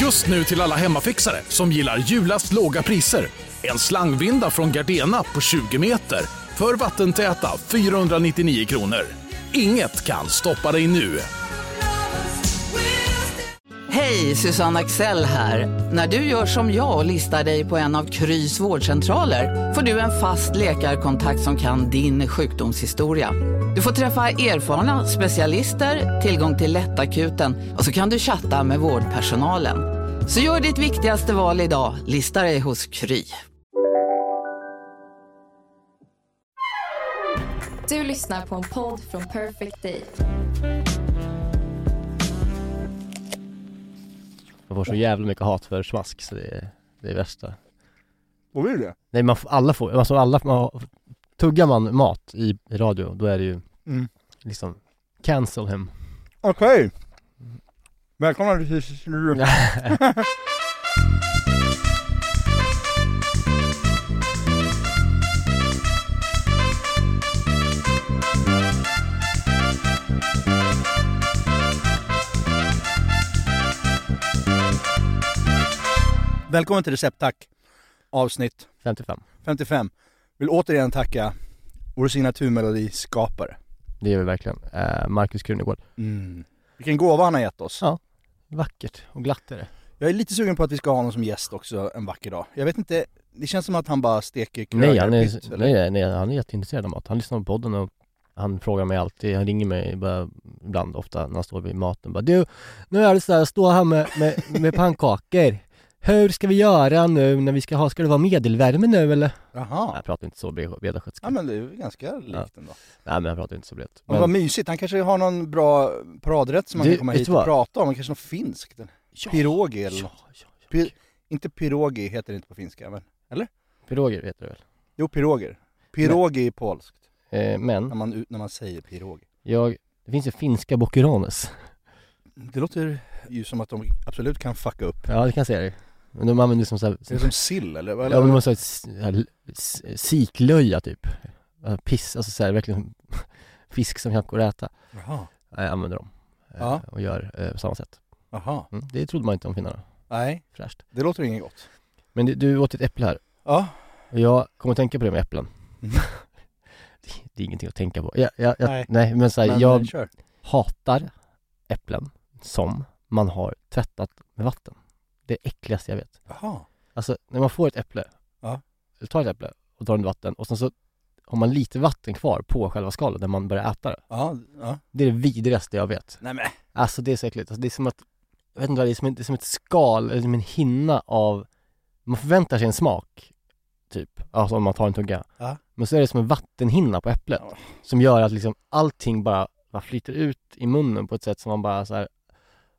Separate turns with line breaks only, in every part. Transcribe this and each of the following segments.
Just nu till alla hemmafixare som gillar julast låga priser. En slangvinda från Gardena på 20 meter för vattentäta 499 kronor. Inget kan stoppa dig nu.
Hej, Susanne Axel här. När du gör som jag och listar dig på en av Krys vårdcentraler får du en fast läkarkontakt som kan din sjukdomshistoria. Du får träffa erfarna specialister, tillgång till lättakuten och så kan du chatta med vårdpersonalen. Så gör ditt viktigaste val idag, listar dig hos Kry.
Du lyssnar på en podd från Perfect Day.
Man får så jävla mycket hat för smask så det är det är värsta
Får vi det?
Nej man, får- alla får, alltså alla, man, tuggar man mat i, i radio då är det ju
Mm.
liksom cancel him
Okej. Välkomna till Slut. Välkommen till Recept Tack avsnitt
55
55. Vill återigen tacka vår signaturmelodiskapare.
Det gör vi verkligen eh, Marcus Krunegård
Mm. Vilken gåva han har gett oss.
Ja. Vackert och glatt är det
Jag är lite sugen på att vi ska ha honom som gäst också en vacker dag. Jag vet inte, det känns som att han bara steker krögar
Nej han är,
vitt, eller?
nej, nej, nej han är jätteintresserad av mat Han lyssnar på podden och han frågar mig alltid, han ringer mig bara, ibland ofta när han står vid maten bara Du, nu är det så här, jag står här med, med, med pannkakor Hur ska vi göra nu när vi ska ha, ska det vara medelvärme nu eller? Nej,
Jaha.
Jag pratar inte så vederskötska
Ja men det är väl ganska likt ändå.
Nej men jag pratar inte så brett
Men vad mysigt, han kanske har någon bra paradrätt som han
Du,
kan komma
vet
hit
du
och
vad?
prata om, kanske något finskt.
ja,
Pirogi eller
ja,
något.
ja, ja.
Pir, Inte pirogi heter det inte på finska, men
Piroger heter det väl?
jo piroger. Pirogi är polskt,
Eh,
när
men
man, ut- när man säger pirogi.
jag, det finns ju finska boccherones
Det låter ju som att de absolut kan fucka upp.
Ja det kan jag säga dig Men de använder ju som såhär,
Det är som sill eller? vad-
ja men de måste ha ett s- här l- s- siklöja typ Ja, Piss, alltså såhär verkligen fisk som knappt går att äta
Jaha.
Nej, Jag använder dem eh,
Ja.
och gör eh, på samma sätt
Jaha.
mm. Det trodde man inte om finnarna,
Nej,
fräscht
det låter inget gott.
Men du, du åt ett äpple här
Ja.
och jag kommer att tänka på det med äpplen
Mm.
det, det är ingenting att tänka på, jag, jag, jag,
Nej.
nej. men såhär,
Men
jag
eh, kör.
hatar äpplen som man har tvättat med vatten. Det är det äckligaste jag vet.
Jaha.
Alltså när man får ett äpple,
Ja.
du tar ett äpple och tar det i vatten och sen så har man lite vatten kvar på själva skalet när man börjar äta det.
Ja, ja.
Det är det vidrigaste jag vet.
Nej men.
Alltså det är så äckligt. Alltså, det är som att, jag vet inte vad det är, som ett- det är som ett skal, eller som en hinna av, man förväntar sig en smak, typ. Alltså om man tar en tugga.
Ja.
Men så är det som en vattenhinna på äpplet.
Ja.
Som gör att liksom allting bara, bara flyter ut i munnen på ett sätt som man bara så här.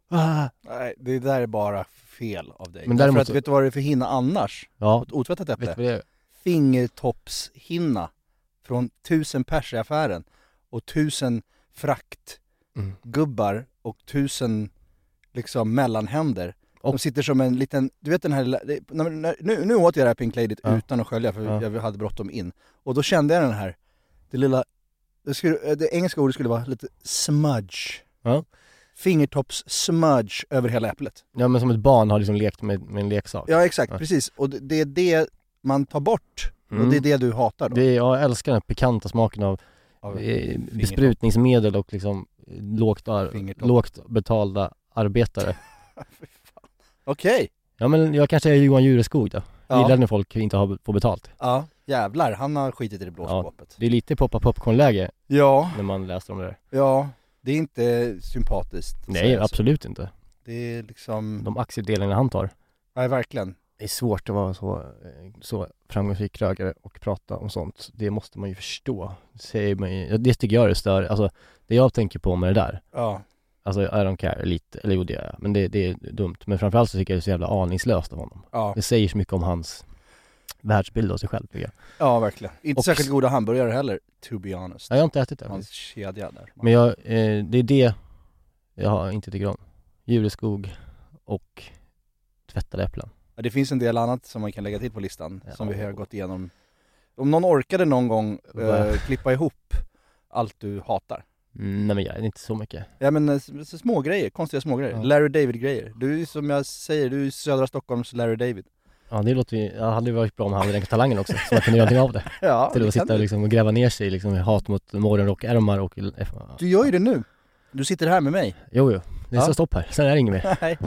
Ah.
Nej, det där är bara fel av dig. Men
Men däremot
Därför att,
så-
vet du vad det är för hinna annars?
Ja,
På ett otvättat
vet du
äpple?
vad det är?
Fingertoppshinna från tusen pers i affären och tusen fraktgubbar
Mm.
och tusen liksom mellanhänder. De
Och-
sitter som en liten, du vet den här, lilla- det- när- när- nu, nu åt jag det här Pink Lady
Ja.
utan att skölja för
Ja.
jag hade bråttom in. Och då kände jag den här, det lilla, det, skulle, det engelska ordet skulle vara lite smudge.
Ja.
Fingertopps-smudge över hela äpplet.
Ja men som ett barn har liksom lekt med, med en leksak.
Ja exakt,
Ja.
precis. Och det- det är det man tar bort och
Mm.
det är det du hatar då.
Det är, jag älskar den här pikanta smaken av
Av
eh,
fingertopp.
besprutningsmedel och liksom eh, lågt, ar-
Fingertopp.
lågt betalda arbetare.
Fy fan. Okej!
Ja men jag kanske är Johan Jureskog då.
Ja.
Gillar när folk inte har, får betalt.
Ja, jävlar. Han har skitit i det blå
Ja.
skåpet.
Det är lite poppa popcorn-läge
Ja,
när man läser om det där.
ja. Det är inte sympatiskt. att
Nej
säga så.
absolut inte.
Det är liksom,
De aktiedelarna han tar.
nej verkligen.
Det är svårt att vara så, eh, så framgångsrik krögare och prata om sånt. Det måste man ju förstå. Det, säger man ju, det tycker jag är större. Alltså det jag tänker på med det där
Ja,
Alltså I don't care lite, eller jo det gör jag, men det, det är dumt. Men framförallt så tycker jag det är så jävla aningslöst av honom.
ja,
Det säger så mycket om hans världsbild av sig själv tycker jag.
ja verkligen. Inte
Och-
särskilt goda hamburgare heller, to be honest.
Nej, jag har inte ätit det.
Hans kedja där.
Men jag, eh, det är det jag har- inte tycker om. Jureskog och tvättade äpplen.
Ja, Det finns en del annat som man kan lägga till på listan
Ja.
som vi har gått igenom. Om någon orkade någon gång eh,
Va?
klippa ihop allt du hatar
Mm, Nej men jag är inte så mycket.
Ja men eh, s- så små grejer, konstiga små grejer.
Ja.
Larry David-grejer. Du är ju som jag säger, du är ju södra Stockholms Larry David.
Ja det låter ju, ja, hade ju varit bra om han hade räknat talangen också, så man kunde göra någonting av det.
Ja,
Till
det
att
kan
sitta och
du.
liksom och gräva ner sig liksom, i hat mot morgonrockärmar och...
Du gör ju det nu. Du sitter här med mig.
Jo, jo. Det
Ja.
står stopp här, sen är det inget mer.
Nej.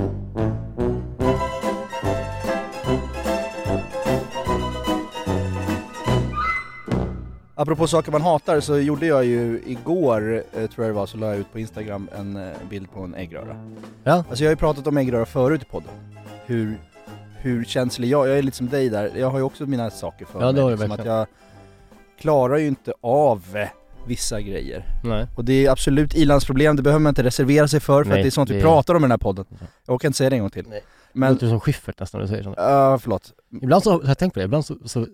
Apropå saker man hatar så gjorde jag ju igår, eh, tror jag det var, så la jag ut på Instagram en eh, bild på en äggröra.
Ja.
Alltså jag har ju pratat om äggröra förut i podden. Hur, hur känslig jag, jag är lite som dig där, jag har ju också mina saker för
Ja, det
mig.
har du
liksom, att
verkligen.
jag klarar ju inte av eh, vissa grejer.
Nej.
Och det är absolut ilandsproblem, det behöver man inte reservera sig för för
Nej,
att det är sånt vi
det-
pratar om i den här podden.
Ja.
Jag kan inte säga det en gång till.
Nej.
Men,
Låter du som Schyffert nästan när du säger sånt?
uh, förlåt.
Ibland så, jag har tänkt på det, ibland så, så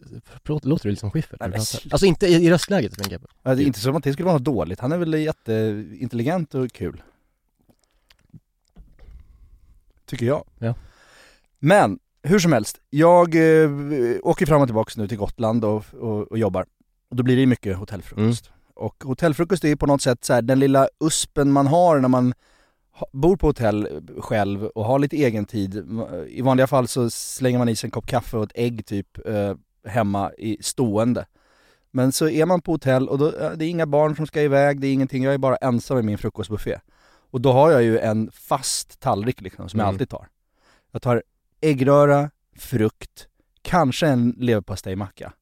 förlåt, låter du lite som Schyffert.
Nej, men sluta.
Alltså inte i, i röstläget tänker jag på.
Ja, Det är Alltså, inte som att det skulle vara något dåligt, han är väl jätteintelligent och kul. Tycker jag.
Ja.
Men, hur som helst, jag eh, åker fram och tillbaks nu till Gotland och, och, och jobbar. Och då blir det ju mycket hotellfrukost. Och hotellfrukost är ju på något sätt så här, den lilla uspen man har när man ha- bor på hotell själv och har lite egen tid. I vanliga fall så slänger man i sig en kopp kaffe och ett ägg typ eh, hemma i stående. Men så är man på hotell och då, eh, det är inga barn som ska iväg, det är ingenting, jag är bara ensam i min frukostbuffé. Och då har jag ju en fast tallrik liksom, som jag
Mm.
alltid tar. Jag tar äggröra, frukt, kanske en leverpastejmacka.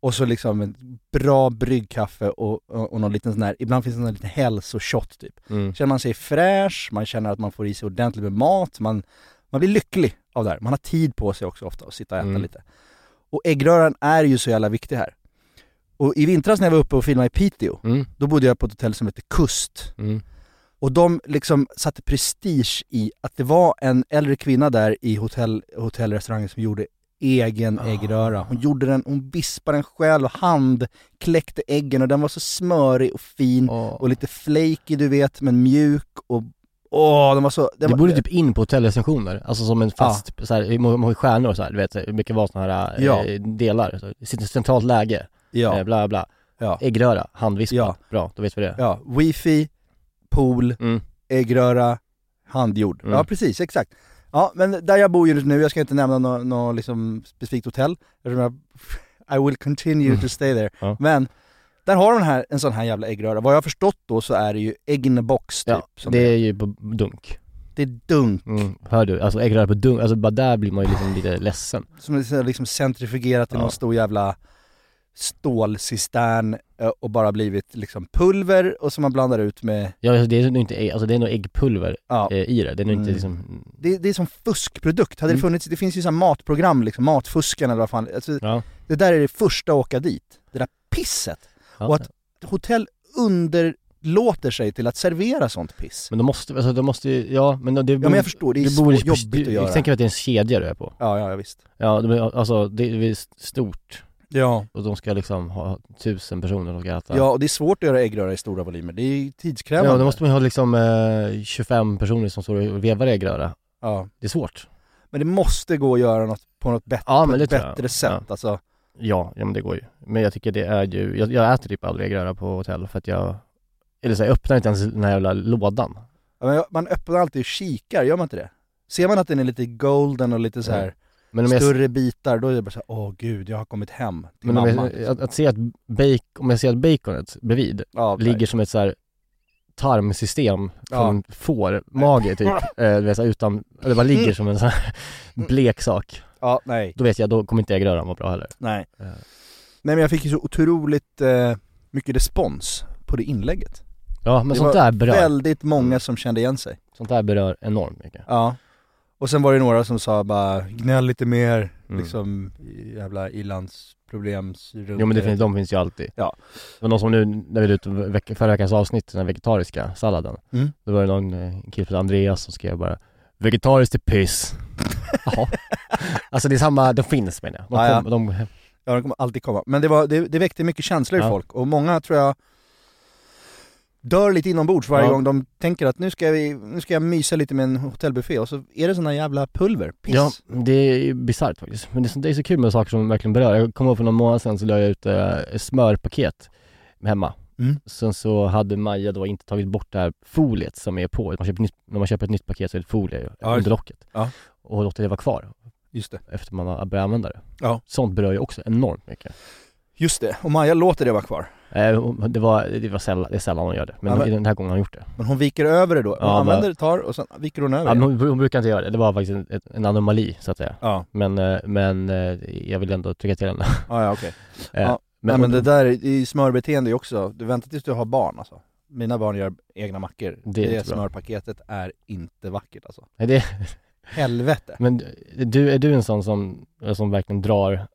Och så liksom en bra bryggkaffe och, och, och någon liten sån här, ibland finns det en liten hälsoshot typ.
Mm.
Känner man sig fräsch, man känner att man får i sig ordentligt med mat, man, man blir lycklig av det här. Man har tid på sig också ofta att sitta och äta
Mm.
lite. Och äggröran är ju så jävla viktig här. Och i vintras när jag var uppe och filmade i Piteå,
Mm.
då bodde jag på ett hotell som hette Kust.
Mm.
Och de liksom satte prestige i att det var en äldre kvinna där i hotell, hotellrestaurangen som gjorde egen
Ah.
äggröra. Hon gjorde den, hon vispade den själv och handkläckte äggen och den var så smörig och fin och
Och,
lite flaky du vet, men mjuk och... Åh, den var så... Den
det
var,
borde typ in på hotellrecensioner, alltså som en fast, så här, hur många- hur många stjärnor och så här, du vet, så här, hur mycket var sådana här eh,
Ja.
delar, så, det sitter i ett centralt läge, eh,
Ja,
bla bla,
ja,
äggröra, handvispat,
Ja.
bra, då vet vi det.
ja. Wifi, pool,
Mm.
äggröra, handgjord.
Mm.
Ja, precis, exakt. Ja, men där jag bor just nu, jag ska inte nämna något nå liksom specifikt hotell, eftersom jag, I will continue to stay there.
Ja.
Men där har de här, en sån här jävla äggröra. Vad jag har förstått då så är det ju egg in a box typ.
Ja,
som
det
det...
är ju på dunk.
det är dunk,
Mm. Hör du? Alltså äggröra på dunk, alltså bara där blir man ju liksom lite ledsen.
som är så här liksom centrifugerat i
Ja.
någon stor jävla stålcistern eh, och bara blivit liksom pulver och som man blandar ut med
Ja, alltså, det är nog inte ägg, alltså det är nog äggpulver
Ja,
eh, i det, det är nog inte
Mm.
liksom,
det, det är som fuskprodukt. Hade det
Mm.
funnits, det finns ju så här matprogram liksom, Matfuskarna eller vad fan. Alltså,
ja.
det där är det första att åka dit. Det där pisset.
ja.
Och att- Hotell underlåter sig till att servera sånt piss.
Men de måste, alltså de måste ju, ja men det borde,
Ja men jag förstår, det är så
borde-
jobbigt
Jag
att göra.
tänker att det är en kedja du är på.
Ja, ja, ja, visst.
Ja, de, är- alltså det är stort
Ja.
och de ska liksom ha tusen personer som ska äta.
ja, och det är svårt att göra äggröra i stora volymer. Det är ju tidskrävande.
ja då måste man ju ha liksom eh, 25 personer som står och vevar äggröra.
Ja.
Det är svårt.
Men det måste gå att göra något på något bättre,
Ja,
på
men
ett
det tror jag.
bättre sätt. Alltså,
Ja, ja men det går ju. Men jag tycker det är ju, jag, jag äter typ aldrig äggröra på hotell för att jag, eller så jag öppnar inte ens den här jävla lådan.
ja, men man öppnar alltid och kikar, gör man inte det? Ser man att den är lite golden och lite så här
Mm. Men om jag,
större bitar, då är det bara så här, åh gud, jag har kommit hem till
men om
mamma.
jag, att, att se att bacon, om jag ser att baconet bredvid
ja, nej.
ligger som ett så här tarmsystem
Ja.
från får, mage typ, eh, du vet, så här utan, det bara ligger som en sån här blek sak.
Ja, nej.
Då vet jag, då kommer inte äggröran vara bra heller.
Nej.
Ja.
Nej men jag fick ju så otroligt eh, mycket respons på det inlägget.
Ja, men
Det
sånt
var
där berör,
Väldigt många
Mm.
som kände igen sig.
sånt där berör enormt mycket.
Ja. Och sen var det några som sa bara, gnäll lite mer,
Mm.
liksom jävla ilandsproblems
Jo men det finns, de finns ju alltid.
Ja.
Det var någon som nu, när vi la ut veck- förra veckans avsnitt, den här vegetariska salladen.
Mm.
Då var det någon eh, kille som heter Andreas som skrev bara Vegetariskt är piss. Jaha. Alltså det är samma, de finns menar jag. De,
Ja, ja.
kom, de
Ja, de kommer alltid komma. Men det, var, det, det väckte mycket känslor i
Ja.
folk och många tror jag dör lite inombords varje
Ja.
gång de tänker att nu ska, vi, nu ska jag mysa lite med en hotellbuffé och så är det såna jävla pulver, piss.
Ja, det är bisarrt faktiskt. Men det är, så, det är så kul med saker som verkligen berör. Jag kommer ihåg för någon månad sedan så la jag ut eh, smörpaket hemma.
Mm.
Sen så hade Maja då inte tagit bort det här foliet som är på. Man köper nytt, när man köper ett nytt paket så är det ett folie ju
Ja, just-
under locket.
ja.
Och låter det vara kvar
Just det.
efter man har börjat använda det.
Ja.
Sånt berör ju också enormt mycket.
Just det, och Maja låter det vara kvar.
Eh, och Det, var, det, var sällan, det är sällan hon gör det, men,
Ja, men-
i den här gången har hon gjort det.
Men hon viker över det då. Hon
Ja, men-
använder det, tar och sen viker hon över
Ja, men
igen.
hon, hon brukar inte göra det, det var faktiskt en, ett- en anomali så att säga.
Ja,
Men, eh, men eh, jag vill ändå trycka till henne.
ja, ja okej.
Eh,
Ja, Nej men det där är- det är ju smörbeteende också, du väntar tills du har barn alltså. Mina barn gör egna mackor.
Det
Det,
är jättebra.
smörpaketet är inte vackert alltså.
Nej, det,
Helvete!
men du, är du en sån som, som verkligen drar,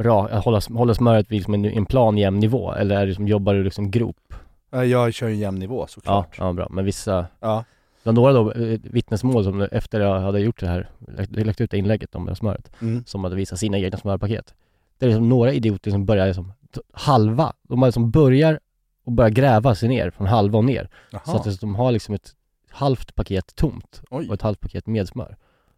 ra, håller, håller smöret vid liksom en, en plan jämn nivå? Eller är du som, jobbar du liksom grop?
Ja, Jag kör ju en jämn nivå
Ja,
såklart.
ja, bra. Men vissa,
Ja.
det var några då, eh, vittnesmål som efter jag hade gjort det här, lagt, lagt ut det inlägget om det här smöret,
Mm.
som hade visat sina egna smörpaket. Det är liksom några idioter som börjar liksom, t- halva, de bara liksom börjar och börjar gräva sig ner från halva och ner. Så
Jaha.
att det- de har liksom ett halvt paket tomt
Oj.
och ett halvt paket med smör.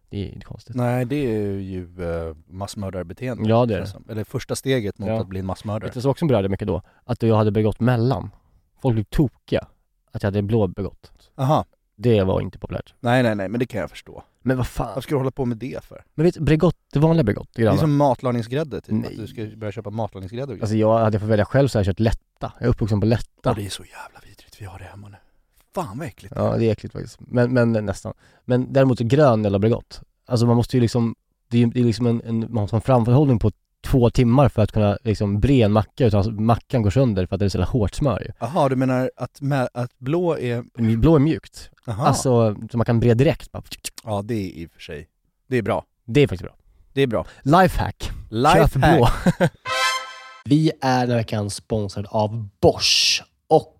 Det är inte konstigt.
Nej det är ju eh, massmördarbeteende.
Ja, det är
känns som. Eller första steget mot
Ja.
att bli en massmördare.
Vet du som också berörde mycket då? Att jag hade begått mellan. Folk blev tokiga. Att jag hade blå begått.
Aha.
Det var inte populärt.
Nej nej nej, men det kan jag förstå.
Men vad fan.
Varför ska du hålla på med det för?
Men vet du, Bregott, det vanliga Bregott, det
Det är
gröna.
som matlagningsgrädde typ,
Nej.
att du ska börja köpa matlagningsgrädde och grejer.
Alltså jag hade fått välja själv så hade jag kört lätta. Jag är uppvuxen på lätta.
Ja, det är så jävla vidrigt vi har det hemma nu. Fan vad äckligt.
Ja, det är äckligt faktiskt. Men, men nästan. Men däremot grön eller Bregott. Alltså man måste ju liksom, det är, ju- det är liksom en, en, man måste ha en framförhållning på två timmar för att kunna liksom bre en macka utan att mackan går sönder för att det är så jävla hårt smör ju.
Jaha, du menar att, mä- att blå är...
Blå är mjukt.
Aha.
Alltså, så man kan bre direkt. Bara.
Ja, det är i och för sig. Det är bra.
Det är faktiskt bra.
Det är bra.
Lifehack. Köp blå. Vi är den här veckan sponsrad av Bosch och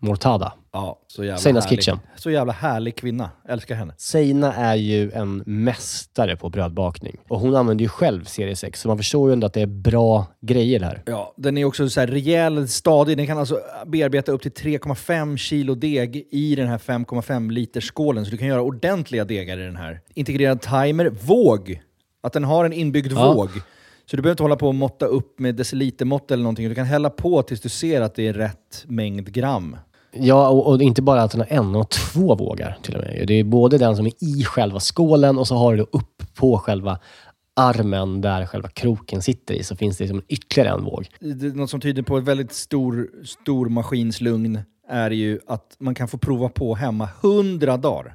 Mortada.
Ja, så jävla
Seinas
härlig.
Kitchen.
Så jävla härlig kvinna. Älskar henne.
Seina är ju en mästare på brödbakning och hon använder ju själv serie 6 så man förstår ju ändå att det är bra grejer det här.
Ja, den är också så här rejäl, stadig. Den kan alltså bearbeta upp till 3,5 kilo deg i den här 5,5 liters skålen. Så du kan göra ordentliga degar i den här. Integrerad timer, våg. Att den har en inbyggd
Ja.
våg. Så du behöver inte hålla på och måtta upp med decilitermått eller någonting. Du kan hälla på tills du ser att det är rätt mängd gram.
Ja, och, och inte bara att den har en och två vågar till och med. Det är både den som är i själva skålen och så har du då upp på själva armen där själva kroken sitter i så finns det liksom ytterligare en våg.
det, något som tyder på ett väldigt stor, stor maskinslugn är ju att man kan få prova på hemma 100 dagar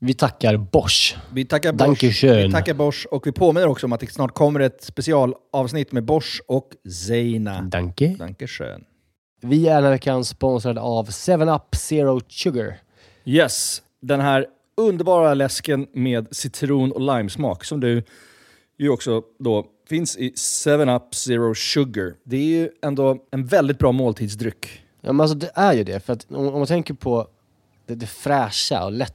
Vi tackar Bosch.
Vi tackar Bosch.
Dankeschön.
Vi tackar Bosch och vi påminner också om att det snart kommer ett specialavsnitt med Bosch och Zeina.
Danke.
Dankeschön.
Vi är den här veckan sponsrade av 7up Zero Sugar.
Yes, den här underbara läsken med citron och limesmak som du ju också då finns i 7-Up Zero Sugar. Det är ju ändå en väldigt bra måltidsdryck.
Ja, men alltså det är ju det. För att om, om man tänker på det, det fräscha och lätta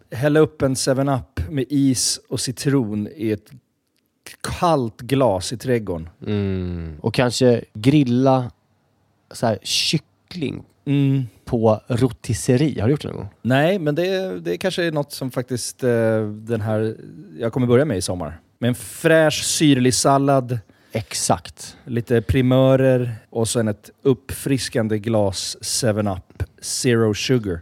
hälla upp en 7-Up med is och citron i ett kallt glas i trädgården.
Mm. Och kanske grilla så här, kyckling
Mm.
på rotisserie. Har du gjort det någon gång?
Nej, men det, det kanske är något som faktiskt eh, den här, jag kommer börja med i sommar. Med en fräsch syrlig sallad,
Exakt.
lite primörer och sen ett uppfriskande glas 7-Up Zero Sugar.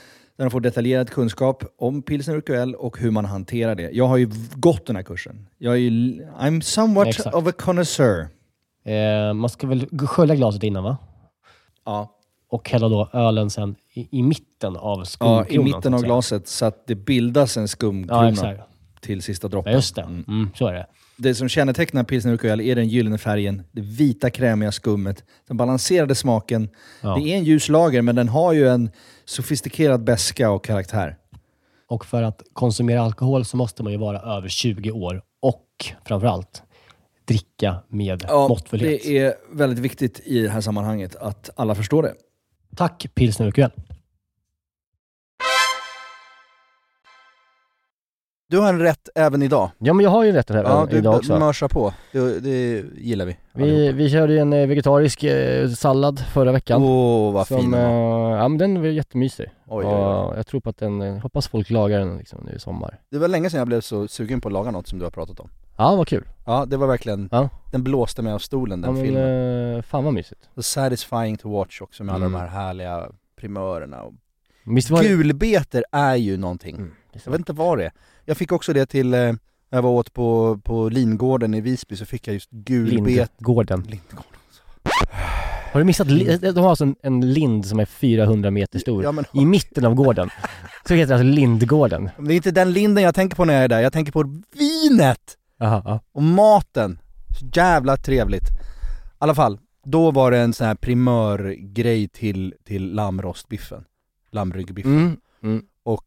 Där de får detaljerad kunskap om pilsner urquell och hur man hanterar det. Jag har ju v- gått den här kursen. Jag är ju, l- I'm somewhat
Exakt.
of a connoisseur.
Eh, man ska väl g- skölja glaset innan va?
Ja,
Och hälla då ölen sen i, i mitten av
ja,
skumkronan.
I mitten
så att
av
säga.
glaset så att det bildas en
Ja,
skumkrona
exakt.
till sista
Ja,
droppen.
just det. Mm, så är det.
Det som kännetecknar pilsner urquell är den gyllene färgen, det vita krämiga skummet, den balanserade smaken.
Ja.
Det är en ljus lager, men den har ju en sofistikerad beska och karaktär.
Och för att konsumera alkohol så måste man ju vara över 20 år och framförallt dricka med måttfullhet.
det är väldigt viktigt i det här sammanhanget att alla förstår det.
Tack Pilsner Urquell.
Du har en rätt även idag.
Ja, men jag har ju rätt den här
Ja,
ja,
du
idag också.
mörsar på. Det, det gillar vi.
Vi, vi körde ju en eh, vegetarisk eh, sallad förra veckan.
Åh, oh, vad fin
som,
den
eh,
var.
ja, men den var jättemysig.
Oj, oj, oj.
Och jag tror på att den, eh, hoppas folk lagar den liksom nu i sommar.
Det var länge sedan jag blev så sugen på att laga något som du har pratat om.
Ja, vad kul.
Ja, det var verkligen,
Ja.
den blåste mig av stolen
Ja,
den
men,
filmen.
eh, fan vad mysigt.
Så satisfying to watch också med alla
Mm.
de här härliga primörerna. Och...
Visst var det?
Gulbeter är ju någonting.
Mm, visst
Jag
var
vet
det?
inte vad det är. Jag fick också det till, eh, när jag var åt på, på Lingården i Visby så fick jag just gulbeter.
Lindgården.
Lindgården.
Har du missat? li- De har alltså en, en lind som är 400 meter stor.
Mm. Ja, men,
I mitten av gården. Så heter det alltså Lindgården.
men det är inte den linden jag tänker på när jag är där. Jag tänker på vinet!
Aha, ja.
Och maten, så jävla trevligt. I alla fall, då var det en sån här primörgrej till, till lammrostbiffen. Lammryggbiffen.
Mm.
Och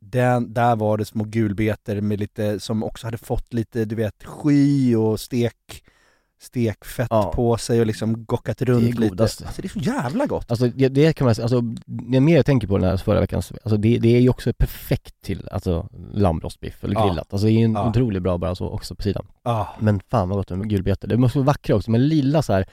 den, där var det små gulbeter med lite, som också hade fått lite, du vet, sky och stek, stekfett
Ja.
på sig och liksom gockat runt lite.
godast.
Alltså det är så jävla gott.
Alltså det, det kan man säga, alltså det mer jag tänker på den här förra veckans, alltså det, det är ju också perfekt till alltså lammrostbiff eller
Ja.
grillat. Alltså det är ju en
Ja.
otroligt bra bara så också på sidan.
Ah.
Men fan vad gott med gulbetor. Det måste vara vackra också, men lilla så här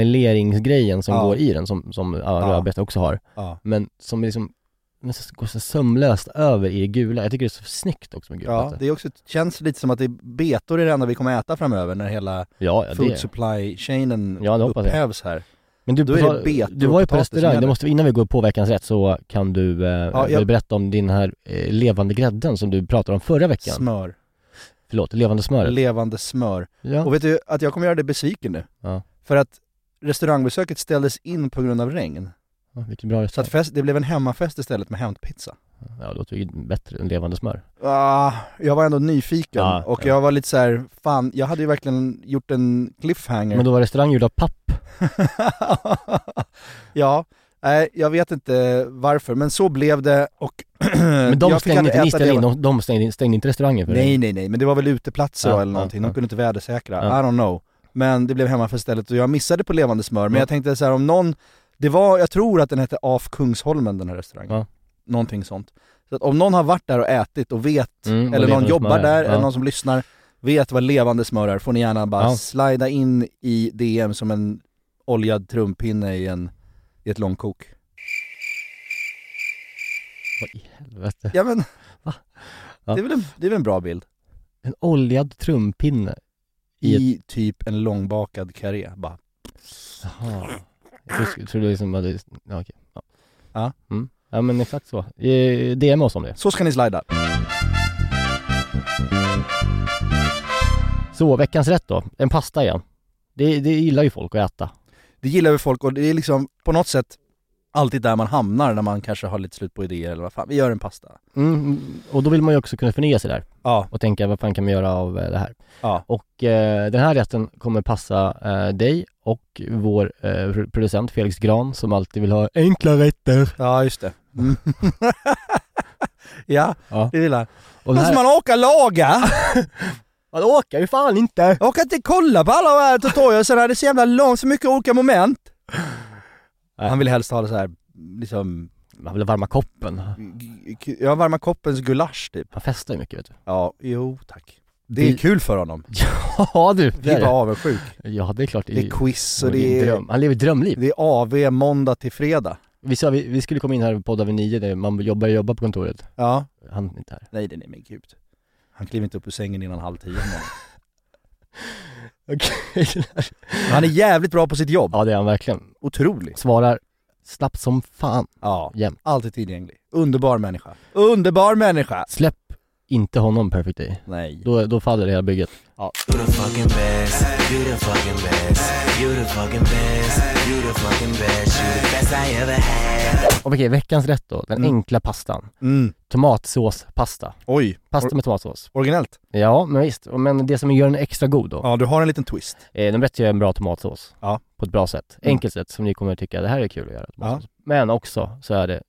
meleringsgrejen som
Ja.
går i den som, som ja,
Ja.
rödbetor också har.
Ja.
Men som liksom men så går så sömlöst över i det gula. Jag tycker det är så snyggt också med
Ja,
gulbetor.
det är också, känns lite som att det är betor i det enda vi kommer äta framöver när hela
Ja, ja, det,
food
är-
supply-chainen
Ja, det hoppas jag.
upphävs här.
Men du,
Då är det
betal-
betor
du var ju
och
på
potatis som
restaurang, det
gäller.
måste, vi- innan vi går på veckans rätt så kan du eh,
jag-
väl berätta om din här eh, levande grädden som du pratade om förra veckan.
Smör.
Förlåt, levande smöret.
Levande smör.
ja.
Och vet du att jag kommer göra dig besviken nu?
Ja.
För att restaurangbesöket ställdes in på grund av regn.
ja, vilken bra
Så att
restaurang.
fest, det blev en hemmafest istället med hämtpizza.
Ja, det låter ju bättre än levande smör.
Ah, jag var ändå nyfiken
Ja,
och
Ah, ja.
jag var lite så här, fan, jag hade ju verkligen gjort en cliffhanger.
Men då var restaurang gjord av
Eh,
papp.
ja, nej jag vet inte varför, men så blev det och
Men de
jag fick
stängde
aldrig
inte, ni
äta
ställde
det.
in, de, de stängde, in- stängde inte restaurangen för
Nej
er.
nej nej, men det var väl uteplatser
Ja,
då eller
ja,
någonting,
ja.
de kunde inte vädersäkra,
Ja.
I don't know Men det blev hemmafest istället och jag missade på levande smör, men
Ja.
jag tänkte så här om någon Det var, jag tror att den hette Af Kungsholmen den här restaurangen.
Ja.
Någonting sånt. Så att om någon har varit där och ätit och vet,
Mm, vad
eller någon
levande
jobbar
smör är.
där,
Ja.
eller någon som lyssnar, vet vad levande smör är, får ni gärna bara
Ja.
slida in i DM som en oljad trumpinne i, en, i ett långkok.
Vad i helvete?
Ja men,
Va? Ja.
Det, är väl en, det är väl en bra bild?
En oljad trumpinne
I,
i ett...
typ en långbakad karré, bara.
Jaha. Jag tror- tror du liksom hade... Ja, okej. Ja.
Ja.
Mm. ja men exakt så. Eh, DM oss om det.
Så ska ni slida.
Så, veckans rätt då. En pasta igen. Det, det gillar ju folk att äta.
Det gillar vi folk och det är liksom på något sätt alltid där man hamnar när man kanske har lite slut på idéer eller vad fan, vi gör en pasta.
Mm. Och då vill man ju också kunna förnya sig där
Ja,
och tänka vad fan kan man göra av eh, det här?
ja.
Och eh, den här rätten kommer passa eh, dig och vår eh, pro- producent Felix Gran som alltid vill ha enkla rätter.
Ja, just det. Mm. ja,
Ja.
det gillar jag.
Och den
Måste
här...
man åka laga?
Alltså, Man åker ju fan inte!
Jag kan inte kolla på alla de här tutorialsarna, det är så jävla långt, så mycket olika moment.
Nej.
Han vill helst ha det så här, liksom,
Man vill varma koppen.
g- g- ja varma koppens gulasch typ.
Han festar ju mycket vet du.
Ja, jo tack. Det är
Vi-
kul för honom.
Ja du!
Vi är bara avundsjuk.
Ja det är klart.
Det är quiz och det är,
dröm. Han lever ett drömliv.
det är AV måndag till fredag.
Vi sa vi, vi skulle komma in här på podd över nio, där man jobbar jobba på kontoret.
Ja.
Han är inte här.
Nej, det är men gud. Han kliver inte upp ur sängen innan halv tio.
Okej.
Han är jävligt bra på sitt jobb.
ja det är han verkligen.
Otroligt.
Svarar snabbt som fan
Ja,
jämt.
alltid tillgänglig. Underbar människa. Underbar människa!
Släpp inte honom Perfect Day.
Nej.
Då, då faller det hela bygget.
You the fucking best, you the fucking best, you the fucking best, you the fucking best, you the best I ever had.
Och Okej, veckans rätt då. Den
Mm.
enkla pastan.
Mm.
Tomatsåspasta.
Oj,
Pasta
Or-
med tomatsås.
originellt.
Ja, men visst. Men det som gör den extra god då.
Ja, du har en liten twist.
Eh, nummer ett är en bra tomatsås.
Ja.
På ett bra sätt.
Mm.
Enkelt sätt som ni kommer att tycka, det här är kul att göra. tomatsås. Men också så är det,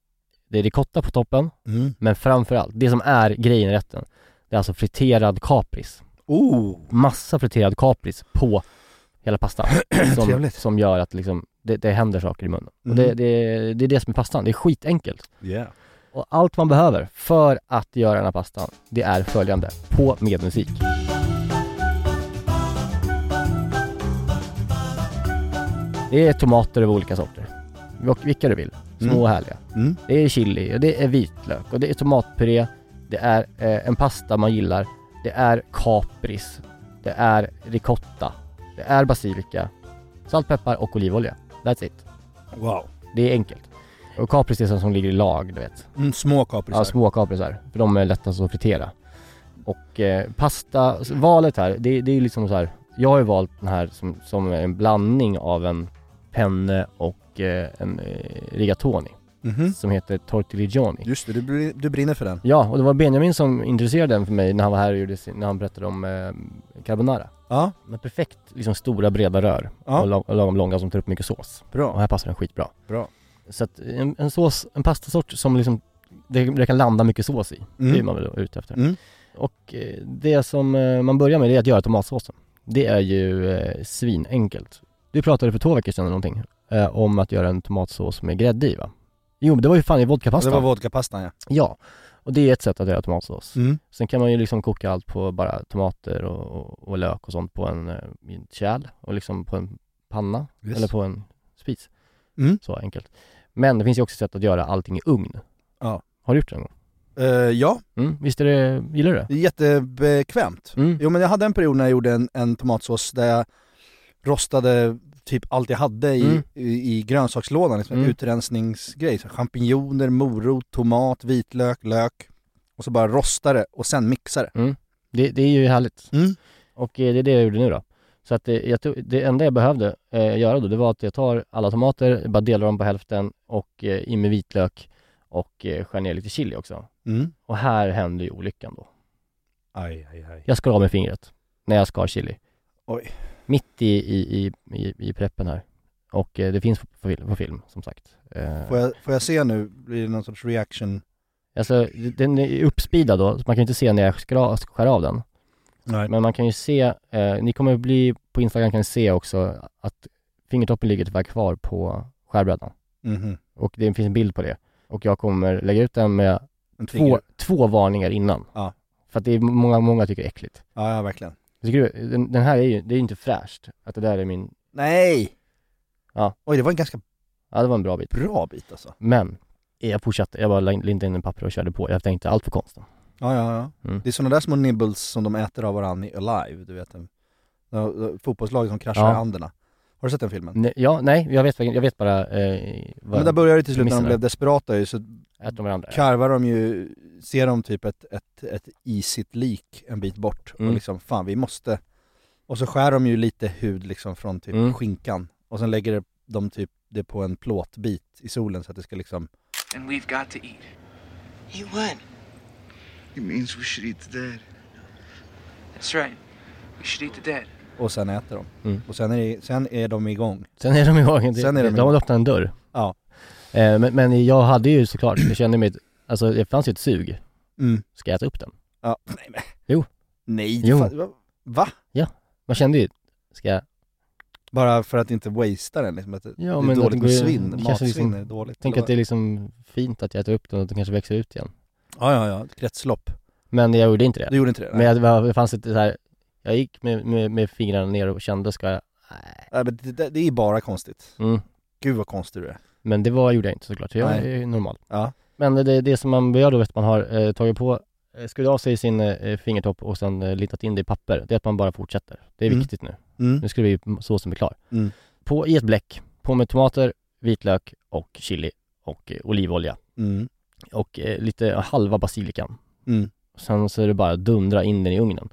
det är ricotta på toppen,
Mm.
men framförallt, det som är grejen i rätten, det är alltså friterad kapris.
Oh!
Massa friterad kapris på hela pastan. som,
Trevligt.
som gör att liksom, det, det händer saker i munnen.
Mm.
Och det, det, det är det som är pastan, det är skitenkelt.
Yeah.
Och allt man behöver för att göra den här pastan, det är följande. På med musik. Det är tomater av olika sorter. Vil- Vilka du vill. Små
Mm.
och härliga.
Mm.
Det är chili, och det är vitlök och det är tomatpuré. Det är eh, en pasta man gillar. Det är kapris. Det är ricotta. Det är basilika. Salt, peppar och olivolja. That's it.
Wow.
Det är enkelt. Och kapris är sånt som ligger i lag, du vet.
Mm, små kaprisar.
Ja, små kaprisar. För de är lättast att fritera. Och eh, pasta, valet här, det, det är ju liksom så här. Jag har ju valt den här som, som är en blandning av en penne och eh, en eh, rigatoni.
Mhm.
Som heter tortigligioni.
Just det, du, br- du brinner för den.
Ja, och det var Benjamin som introducerade den för mig när han var här och gjorde sin, när han berättade om eh, carbonara.
Ja,
Med perfekt, liksom stora breda rör
Ja.
och la- och lagom långa som tar upp mycket sås. Och
bra.
här passar den skitbra.
Bra.
Så att en, en sås, en pastasort som liksom, det, det kan landa mycket sås i. Det är ju man väl ute efter.
Mm.
Och eh, det som eh, man börjar med det är att göra tomatsåsen. Det är ju eh, svinenkelt. Du pratade för två veckor sedan eller någonting eh, om att göra en tomatsås med grädde i va? Jo men det var ju fan i
Det
vodkapastan.
var vodkapastan ja.
Ja. Och det är ett sätt att göra tomatsås.
Mm.
Sen kan man ju liksom koka allt på bara tomater och, och, och lök och sånt på en, eh, i en kärl och liksom på en panna
Yes.
eller på en spis.
Mm.
Så enkelt. Men det finns ju också sätt att göra allting i ugn.
Ja.
Har du gjort det någon gång?
Eh, ja,
Mm, visst är det, gillar du det?
det är jättebekvämt.
Mm.
Jo men jag hade en period när jag gjorde en, en tomatsås där jag rostade typ allt jag hade i,
Mm.
i, i grönsakslådan, liksom en
Mm.
utrensningsgrej. Så champinjoner, morot, tomat, vitlök, lök. Och så bara rosta det och sen mixa det.
det. Det är ju härligt.
Mm.
Och eh, det är det jag gjorde nu då. Så att det, jag tog, det enda jag behövde eh, göra då, det var att jag tar alla tomater, bara delar dem på hälften och eh, in med vitlök och eh, skär ner lite chili också.
Mm.
Och här händer ju olyckan då.
Aj, aj, aj.
Jag skar av med fingret när jag skar chili.
Oj.
Mitt i, i, i, i, i preppen här. Och eh, det finns på, på, film, på film, som sagt. Eh,
Får jag, får jag se nu, blir det någon sorts reaction?
Alltså, den är uppspeedad då, så man kan ju inte se när jag skra, skär av den.
Nej.
Men man kan ju se, eh, ni kommer bli, på Instagram kan ni se också att fingertoppen ligger tyvärr kvar på skärbrädan.
Mhm.
Och det finns en bild på det. Och jag kommer lägga ut den med
En
två,
trigger.
två varningar innan.
Ja.
För att det är många, många tycker det är äckligt.
Ja, ja verkligen.
Jag tycker det- Den, den här är ju, det är ju inte fräscht. Att det där är min,
Nej!
Ja.
Oj, det var en ganska
ja det var en bra bit.
bra bit alltså.
Men, jag fortsatte, jag bara lindade in en papper och körde på. Jag tänkte allt för konsten.
Ja, ja, ja.
Mm.
Det är sådana där små nibbles som de äter av varandra i Alive, du vet. en- ja, Fotbollslaget som kraschar
Ja. Mm.
i händerna. Har du sett den filmen?
Nej, ja, nej, jag vet, verkligen- jag vet bara eh,
Men där
vad,
började det till slut när de
missade
blev
det.
desperata ju, så
att de varandra.
karvar de ju, ser de typ ett, ett, ett isigt lik en bit bort och
Mm.
liksom fan vi måste Och så skär de ju lite hud liksom från typ
Mm.
skinkan och sen lägger de typ det på en plåtbit i solen så att det ska liksom
And we've got to eat.
You what?
It means we should eat the dead. That's right. We should eat the dead.
och sen äter de.
Mm.
Och sen är, det, sen är de igång.
Sen är de igång.
Sen är de
de
igång.
öppnat en dörr.
Ja.
Eh, men, men jag hade ju såklart, jag kände mig, alltså det fanns ju ett sug.
Mm.
Ska jag äta upp den?
Ja. Nej men.
Jo.
Nej.
Jo.
Fan, va- va?
Man kände ju, ska jag
Bara för att inte wastea den liksom. Att det,
Ja,
det är
men att det
dåligt med
går-
svinn.
det
Matsvinn
kanske liksom-
är dåligt.
tänka att det är liksom fint att jag äter upp den och att den kanske växer ut igen.
Ja, ja, ja. Kretslopp.
Men jag gjorde inte det.
Du gjorde inte det?
Men jag, det fanns ett så här, jag gick med, med, med fingrarna ner och kände, ska jag? Nej.
Nej, men det, det, det är bara konstigt.
Mm.
Gud vad konstig du är.
Men det var, gjorde jag inte såklart, så jag
Nej.
är normal.
Ja.
Men det, det som man gör då är att man har eh, tagit på, eh, skurit av sig sin eh, fingertopp och sen eh, litat in det i papper, det är att man bara fortsätter. Det är
Mm.
viktigt nu.
Mm.
Nu ska vi så som är klar.
Mm.
På, I ett bläck, på med tomater, vitlök och chili och eh, olivolja
Mm.
och eh, lite halva basilikan.
Mm.
Sen så är det bara att dundra in den i ugnen.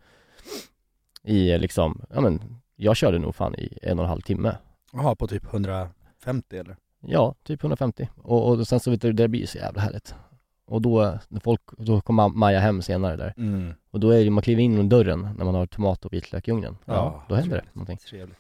I eh, liksom, ja men, jag körde nog fan i en och en halv timme.
Jaha, på typ 150 eller?
Ja, typ 150. Och, och sen så vet du, det blir så jävla härligt. Och då, eh, när folk, då kom Ma- Maja hem senare där.
Mm.
Och då är det, man kliver in genom dörren när man har tomat och vitlök i ugnen. Ja,
Ja,
då händer det
trevligt.
någonting.
Trevligt.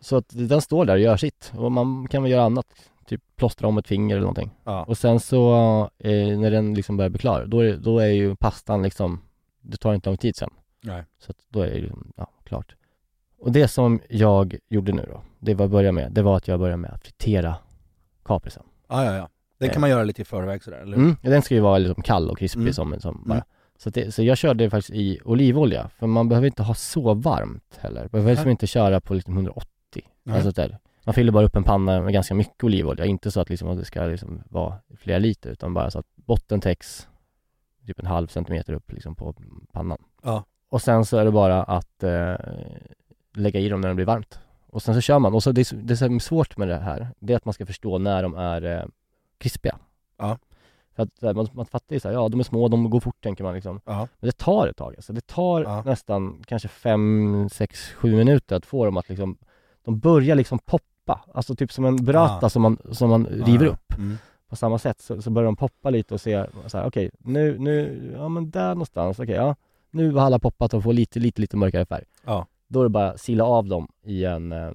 Så att den står där och gör sitt. Och man kan väl göra annat, typ plåstra om ett finger eller någonting.
Ja.
Och sen så, eh, när den liksom börjar bli klar, då är, då är ju pastan liksom, det tar inte lång tid sen.
Nej.
Så att då är det ju, ja, klart. Och det som jag gjorde nu då, det var jag började med, det var att jag började med att fritera kaprisen.
Ja, ja, ja. Den kan
Eh.
man göra lite i förväg sådär, eller hur?
Mm, den ska ju vara liksom kall och krispig
Mm.
som, som
Mm.
bara. Så, att det, så jag körde faktiskt i olivolja, för man behöver inte ha så varmt heller. Man behöver liksom
Nej.
inte köra på liksom 180.
Nej.
Alltså där. Man fyller bara upp en panna med ganska mycket olivolja, inte så att, liksom, att det ska liksom vara flera liter, utan bara så att botten täcks typ en halv centimeter upp liksom på pannan.
Ja.
Och sen så är det bara att eh, lägga i dem när det blir varmt. Och sen så kör man. Och så det, är så- det som är svårt med det här, det är att man ska förstå när de är eh, krispiga.
Ja.
För att så här, man, man fattar ju så här, ja de är små, de går fort tänker man liksom.
Ja.
Men det tar ett tag alltså. Det tar
Ja.
nästan kanske fem, sex, sju minuter att få dem att liksom, de börjar liksom poppa. Alltså typ som en burrata
Ah.
som man, som man river
Ja,
upp.
ja. Mm.
På samma sätt så, så börjar de poppa lite och se så här, okej nu, nu, ja men där någonstans, okej ja. Nu har alla poppat och får lite, lite, lite mörkare färg.
Ja.
Då är det bara att sila av dem i en eh,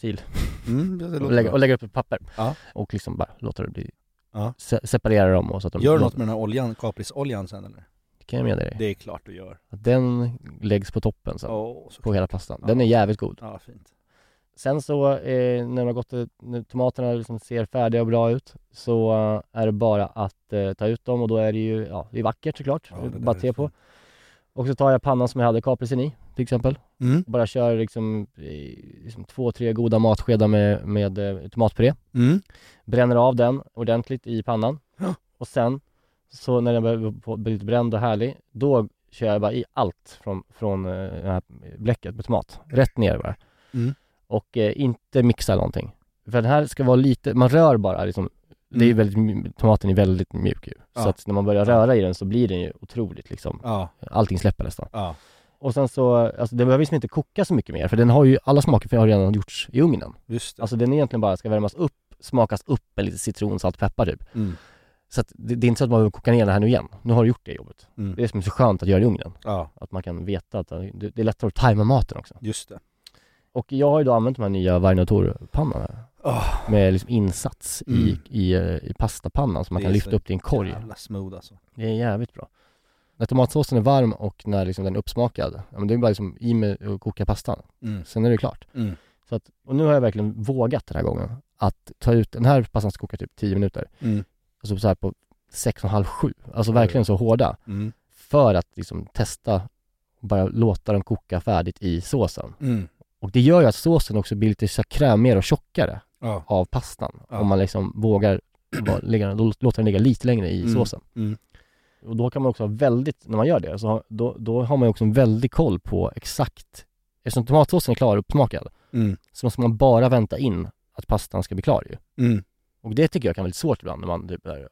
sil
Mm, det
och
låter
lägga,
bra. Ah.
och lägga upp ett papper.
Ja.
Och liksom bara låta det bli,
Ja.
se, separera dem och så att de
Gör du något med den här oljan, kaprisoljan sen eller?
Det kan jag med dig.
Det är klart du gör.
Att Den läggs på toppen sen,
Åh, så
på hela pastan.
Ja.
Den är jävligt god.
Ja, fint.
Sen så, eh, när de har gått, eh, när tomaterna liksom ser färdiga och bra ut, så eh, är det bara att eh, ta ut dem och då är det ju, ja, det är vackert såklart,
Ja, det där
bara
är
te på.
fint.
Och så tar jag pannan som jag hade kaprisen i, till exempel.
Mm.
Bara kör liksom, eh, liksom två, tre goda matskedar med, med eh, tomatpuré.
Mm.
bränner av den ordentligt i pannan
Ja.
och sen så när den börjar på- bli lite bränd och härlig då kör jag bara i allt från, från eh, det här bläcket med tomat, rätt ner bara
Mm.
och eh, inte mixa någonting för den här ska vara lite, man rör bara liksom det är
Mm.
ju väldigt, mj- tomaten är väldigt mjuk ju.
Ja.
Så att när man börjar röra i den så blir den ju otroligt liksom,
Ja,
allting släpper nästan.
ja.
Och sen så, alltså den behöver liksom inte koka så mycket mer för den har ju, alla smaker har redan gjorts i ugnen.
Just det.
Alltså den egentligen bara ska värmas upp, smakas upp med lite citron, salt, peppar typ.
Mm.
Så att det, det är inte så att man behöver koka ner det här nu igen. Nu har du gjort det jobbet.
Mm.
Det är det som är så skönt att göra i ugnen.
Ja,
Att man kan veta att eh, det, det är lättare att tajma maten också.
just det.
Och jag har ju då använt de här nya Varnator-pannorna
Åh,
med liksom insats i,
Mm.
i, eh, i pastapannan som man
Det
kan
är
lyfta
så
upp till en korg.
Jävla smooth alltså.
Det är jävligt bra. När tomatsåsen är varm och när liksom den är uppsmakad, ja, men det är bara liksom i med och koka pastan.
Mm.
Sen är det klart.
Mm.
Så att, och nu har jag verkligen vågat den här gången. att ta ut, den här passan ska koka typ 10 minuter,
Mm.
alltså så här på 6,5-7, alltså verkligen så hårda,
Mm.
för att liksom testa, bara låta dem koka färdigt i såsen.
Mm.
Och det gör ju att såsen också blir lite så här krämigare och tjockare
Ja.
av pastan,
Ja.
om man liksom vågar bara lägga, då låter den ligga lite längre i
Mm.
såsen.
Mm.
Och då kan man också ha väldigt, när man gör det, så har, då, då har man ju också en väldig koll på exakt, eftersom tomatsåsen är klar och uppsmakad,
Mm.
så måste man bara vänta in att pastan ska bli klar ju.
Mm.
Och det tycker jag kan vara lite svårt ibland när man typ där,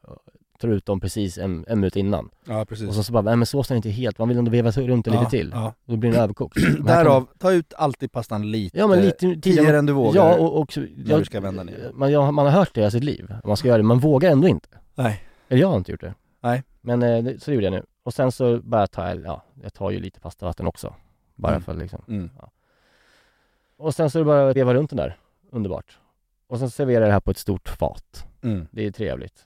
tar ut dem precis en, en minut innan.
Ja, precis.
Och så, så bara, nej men såsen är inte helt, man vill ändå veva sig runt det
ja,
lite till.
Ja.
Då blir den överkokt. Men här kan man-
Därav, ta ut alltid pastan lite,
Ja men lite tidigare.
tidigare än du vågar.
Ja och, och jag,
du ska vända ner.
Man, jag, man har hört det i sitt liv, man ska göra det, man vågar ändå inte.
Nej.
Eller jag har inte gjort det.
Nej.
Men eh, det- så gjorde jag nu. Och sen så bara tar jag, ja, jag tar ju lite pastavatten också. Bara
Mm.
för liksom.
Mm.
Och sen så är det bara att veva runt den där. Underbart. Och sen serverar jag det här på ett stort fat.
Mm.
Det är trevligt.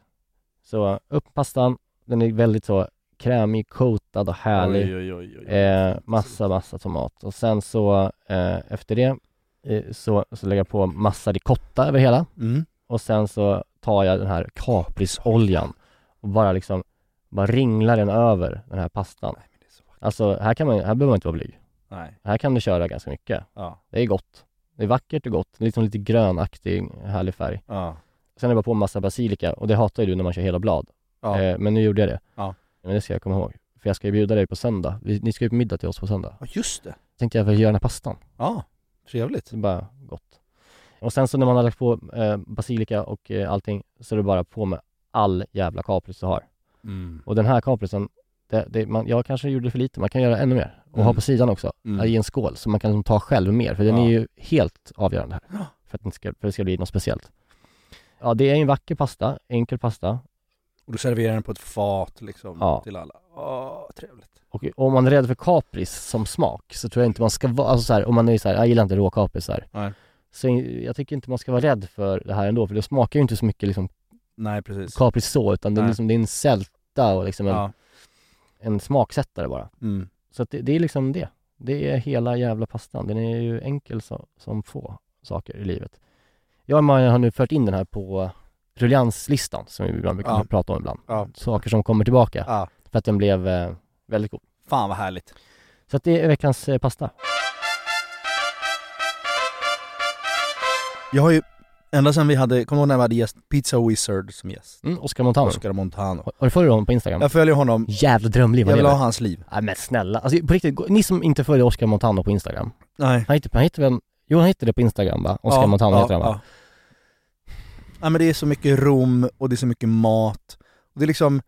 Så upp pastan, den är väldigt så krämig, coatad och härlig.
Oj, oj, oj, oj.
Eh, massa, massa tomat. Och sen så eh, efter det eh, så, så lägger jag på massa ricotta över hela.
Mm.
Och sen så tar jag den här kaprisoljan och bara liksom, bara ringlar den över den här pastan.
Nej, men det är så vackert.
Alltså här kan man, här behöver man inte vara blyg.
Nej.
Här kan du köra ganska mycket.
Ja.
Det är gott. Det är vackert och gott. Det är liksom lite grönaktig, härlig färg.
Ja.
Sen är det bara på en massa basilika och det hatar ju du när man kör hela blad.
Ja.
Eh, men nu gjorde jag det.
Ja.
Men det ska jag komma ihåg. För jag ska ju bjuda dig på söndag. Vi, ni ska ju på middag till oss på söndag.
ja, just det.
Tänkte jag väl göra den här pastan.
Ja, trevligt.
Så det är bara gott. Och sen så när man har lagt på eh, basilika och eh, allting så är det bara på med all jävla kapris du har.
Mm.
Och den här kaprisen, det, det, man, jag kanske gjorde för lite, man kan göra ännu mer. Och
Mm.
ha på sidan också,
Mm.
i en skål, så man kan liksom ta själv mer. För den
Ja.
är ju helt avgörande här.
Ja.
För att det, inte ska, för att det ska bli något speciellt. Ja, det är ju en vacker pasta, enkel pasta.
Och du serverar den på ett fat liksom
Ja.
till alla. Åh, trevligt.
Och om man är rädd för kapris som smak så tror jag inte man ska vara, alltså så här, om man är så här, jag gillar inte råkaprisar.
Nej.
Så jag tycker inte man ska vara rädd för det här ändå, för det smakar ju inte så mycket liksom
Nej, precis.
kapris så, utan det är,
Nej.
liksom, det är en sälta och liksom en,
Ja.
en smaksättare bara.
Mm.
Så att det, det är liksom det. Det är hela jävla pastan. Den är ju enkel så, som få saker i livet. Jag och Maja har nu fört in den här på rullianslistan som vi ibland brukar
Ja.
prata om ibland.
Ja.
Saker som kommer tillbaka.
Ja.
För att den blev eh, väldigt god.
Fan vad härligt.
Så att det är veckans eh, pasta.
Jag har ju, ända sedan vi hade, kommer du ihåg när vi hade gäst, Pizza Wizard som gäst?
Mm, Oscar Montano.
Oscar Montano.
Har, har du följt honom på Instagram?
Jag följer honom,
Jävla drömliv
jag
han
vill ha
lever.
hans liv.
Nej men snälla, alltså på riktigt, gå- ni som inte följer Oscar Montano på Instagram.
Nej.
Han hittar, han hittar väl, jo han hittade det på Instagram va? Oscar
Ja,
Montano
ja,
heter han va?
ja. ja men det är så mycket rom och det är så mycket mat. Och det är liksom,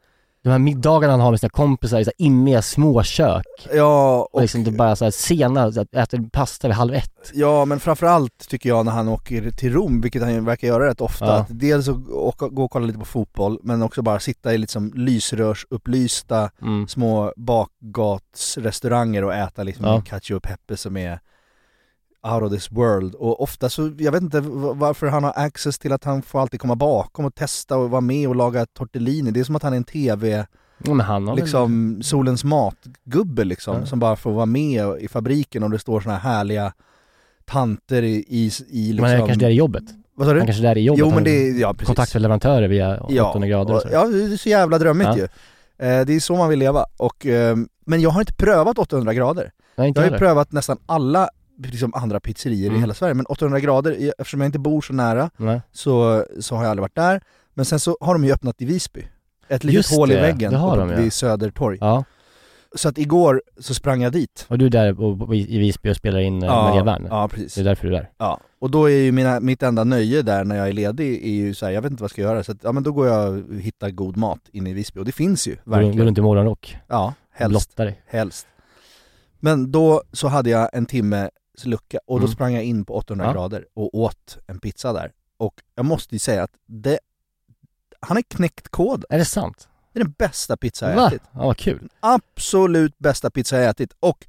De här middagarna han har med sina kompisar i så här immiga småkök.
ja
Och
och,
liksom det bara såhär sena, så att äter pasta vid halv ett.
ja men framförallt tycker jag när han åker till Rom, vilket han ju verkar göra rätt ofta,
Ja.
att dels att åka, gå och kolla lite på fotboll, men också bara sitta i liksom lysrörsupplysta
Mm.
små bakgatsrestauranger och äta liksom
Ja.
cacio e pepe som är out of this world. Och ofta så, jag vet inte v- varför han har access till att han får alltid komma bakom och testa och vara med och laga tortellini. Det är som att han är en tv,
Ja, men han har väl...
liksom solens matgubbe liksom,
Ja.
som bara får vara med i fabriken och det står såna här härliga tanter i, i, i
Men han är
liksom...
kanske där i jobbet.
Vad sa
Han
du?
kanske är där i jobbet.
Jo
Han
men det
har
är, ja precis.
Kontakt med leverantörer via 800 grader och
och-
så.
Ja, det är så jävla drömmigt
Ja.
ju. Eh, Det är så man vill leva. Och, eh, men jag har inte prövat 800 grader.
Nej inte
Jag har ju
heller.
prövat nästan alla liksom, andra pizzerier i
Mm.
hela Sverige, men 800 grader, i- eftersom jag inte bor så nära
Nej.
så, så har jag aldrig varit där. Men sen så har de ju öppnat i Visby. Ett litet
Just
hål i
det,
väggen
det har de,
vid
ja.
Södertorg.
Ja.
Så att igår så sprang jag dit.
Och du är där och, i i Visby och spelar in eh, Maria Wern.
ja precis.
Det är därför du är där.
Ja. Och då är ju mina, mitt enda nöje där när jag är ledig är ju så här, jag vet inte vad jag ska göra, så att, ja men då går jag och hittar god mat inne i Visby. Och det finns ju,
Verkligen. Går
verkligen.
runt i morgonrock.
Ja, helst.
Blottar dig.
Helst. Men då så hade jag en timmes lucka och då
Mm.
sprang jag in på 800
Ja.
grader och åt en pizza där. Och jag måste ju säga att det, han har knäckt koden.
Är det sant?
Det är den bästa pizza jag
Va?
ätit.
Ja, vad kul.
Absolut bästa pizza jag ätit. Och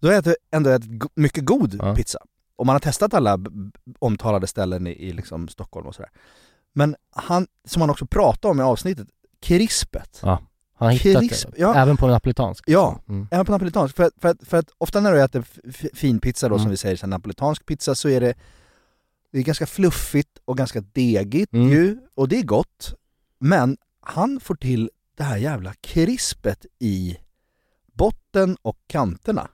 då har jag ätit- ändå ätit go- mycket god
Ja.
pizza. Och man har testat alla b- b- omtalade ställen i, i liksom Stockholm och sådär. Men han, som han också pratade om i avsnittet, krispet.
Han har hittat
Krisp,
det.
ja.
Även på en napolitansk.
Ja.
Mm.
Även på napolitansk. För, att- för, att- för att ofta när du äter f- f- fin pizza då,
Mm.
som vi säger, så här, napolitansk pizza, så är det Det är ganska fluffigt och ganska degigt
Mm.
ju, och det är gott. Men han får till det här jävla krispet i botten och kanterna.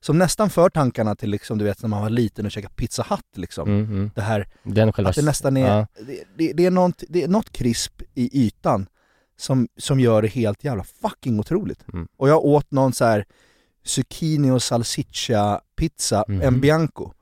Som nästan för tankarna till liksom, du vet när man var liten och käkade pizza hatt liksom.
Mm, mm.
Det här
Den själva...
att det nästan är,
Ja.
det, det, det, är något, det är något krisp i ytan som, som gör det helt jävla fucking otroligt.
Mm.
Och jag åt någon så här zucchini och salsiccia pizza,
Mhm.
en bianco.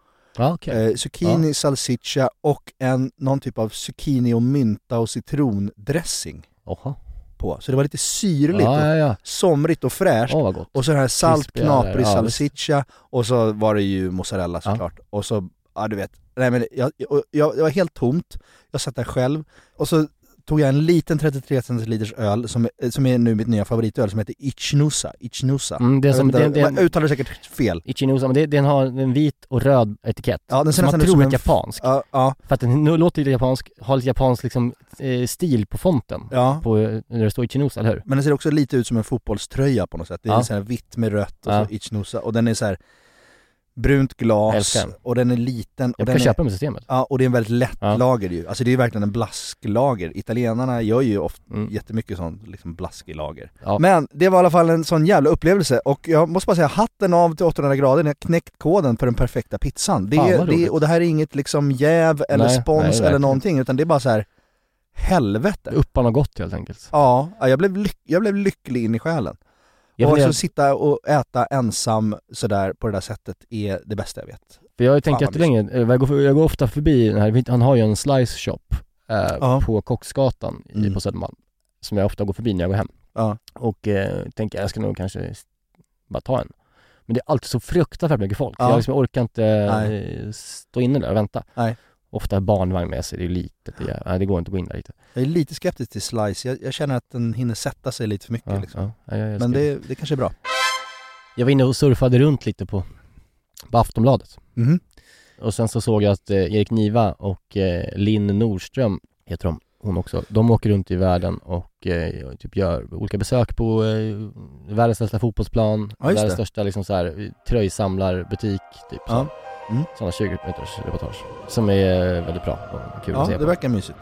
Ja, okej.
Eh, zucchini, salsiccia och en, någon typ av zucchini och mynta och citrondressing
Jaha.
på. Så det var lite syrligt
Ja,
och
ja, ja.
somrigt och fräscht.
Åh, vad gott.
Och så den här salt,
Krispigare,
knaprig
ja,
salsiccia och så var det ju mozzarella
Ja.
såklart. Och så, ja du vet, nej men jag, jag, jag, det var helt tomt, jag satt där själv och så tog jag en liten 33 centiliters öl som, som är nu mitt nya favoritöl som heter Ichnusa. Ichnusa.
Mm, det är
Jag
som,
vet
den,
inte,
den,
jag uttalar det säkert fel.
Ichinosa, men det, den har en vit och röd etikett.
Ja, den ser
som man
nästan ut
tror
som
är
en-
japansk.
Ja, ja,
För att den nu låter lite japansk, har lite japansk liksom, eh, stil på fonten.
ja.
På, eh, när det står Ichinosa, eller hur?
Men den ser också lite ut som en fotbollströja på något sätt. Det är
Ja.
så här vitt med rött och
Ja.
så Ichnusa och den är så här brunt
Jag
glas
älskar den.
och den är liten. och
Jag
den
kan
är...
köpa den med systemet.
Ja, och det är en väldigt lätt
Ja.
lager ju. Alltså det är verkligen en blasklager. Italienarna gör ju ofta
Mm.
jättemycket sån liksom blaskig lager.
Ja.
Men det var i alla fall en sån jävla upplevelse och jag måste bara säga hatten av till 800 grader, ni har knäckt koden för den perfekta pizzan. Det,
Fan,
är-
vad
det,
roligt.
är- och det här är inget liksom jäv eller
Nej, nej,
spons eller
verkligen.
någonting utan det är bara så här helvete.
Uppan har gått helt enkelt.
Ja, ja, jag blev, lyck- jag blev lycklig in i själen.
Jag,
och
funderar-
så sitta och äta ensam sådär på det där sättet är det bästa jag vet.
för jag har ju
Fan,
tänkt
vad
jättelänge, eh, jag går, jag går ofta förbi den här, han har ju en slice shop eh,
Ja.
på Kocksgatan i-
Mm.
på Södermalm. Som jag ofta går förbi när jag går hem.
Ja.
Och eh, tänker jag ska nog kanske s- bara ta en. Men det är alltid så fruktansvärt mycket folk.
Ja.
Jag, liksom, jag orkar inte
Nej.
eh, stå inne där och vänta.
Nej.
Ofta har barnvagn med sig, det är litet, det, är, nej, det går inte att gå in där riktigt.
Jag är lite skeptisk till Slice, jag, jag känner att den hinner sätta sig lite för mycket
Ja,
liksom.
ja, ja, jag, älskar
Men
det...
det, det kanske är bra.
jag var inne och surfade runt lite på, på Aftonbladet.
Mhm.
Och sen så såg jag att eh, Erik Niva och eh, Linn Nordström, heter de, hon också, de åker runt i världen och eh, typ gör olika besök på eh, världens största fotbollsplan,
Ja, just
världens
det.
största liksom så här, tröjsamlarbutik, typ
Ja.
så.
Mm.
Sådana 20 minuters reportage som är eh, väldigt bra och kul
Ja,
att se
det
på.
verkar mysigt.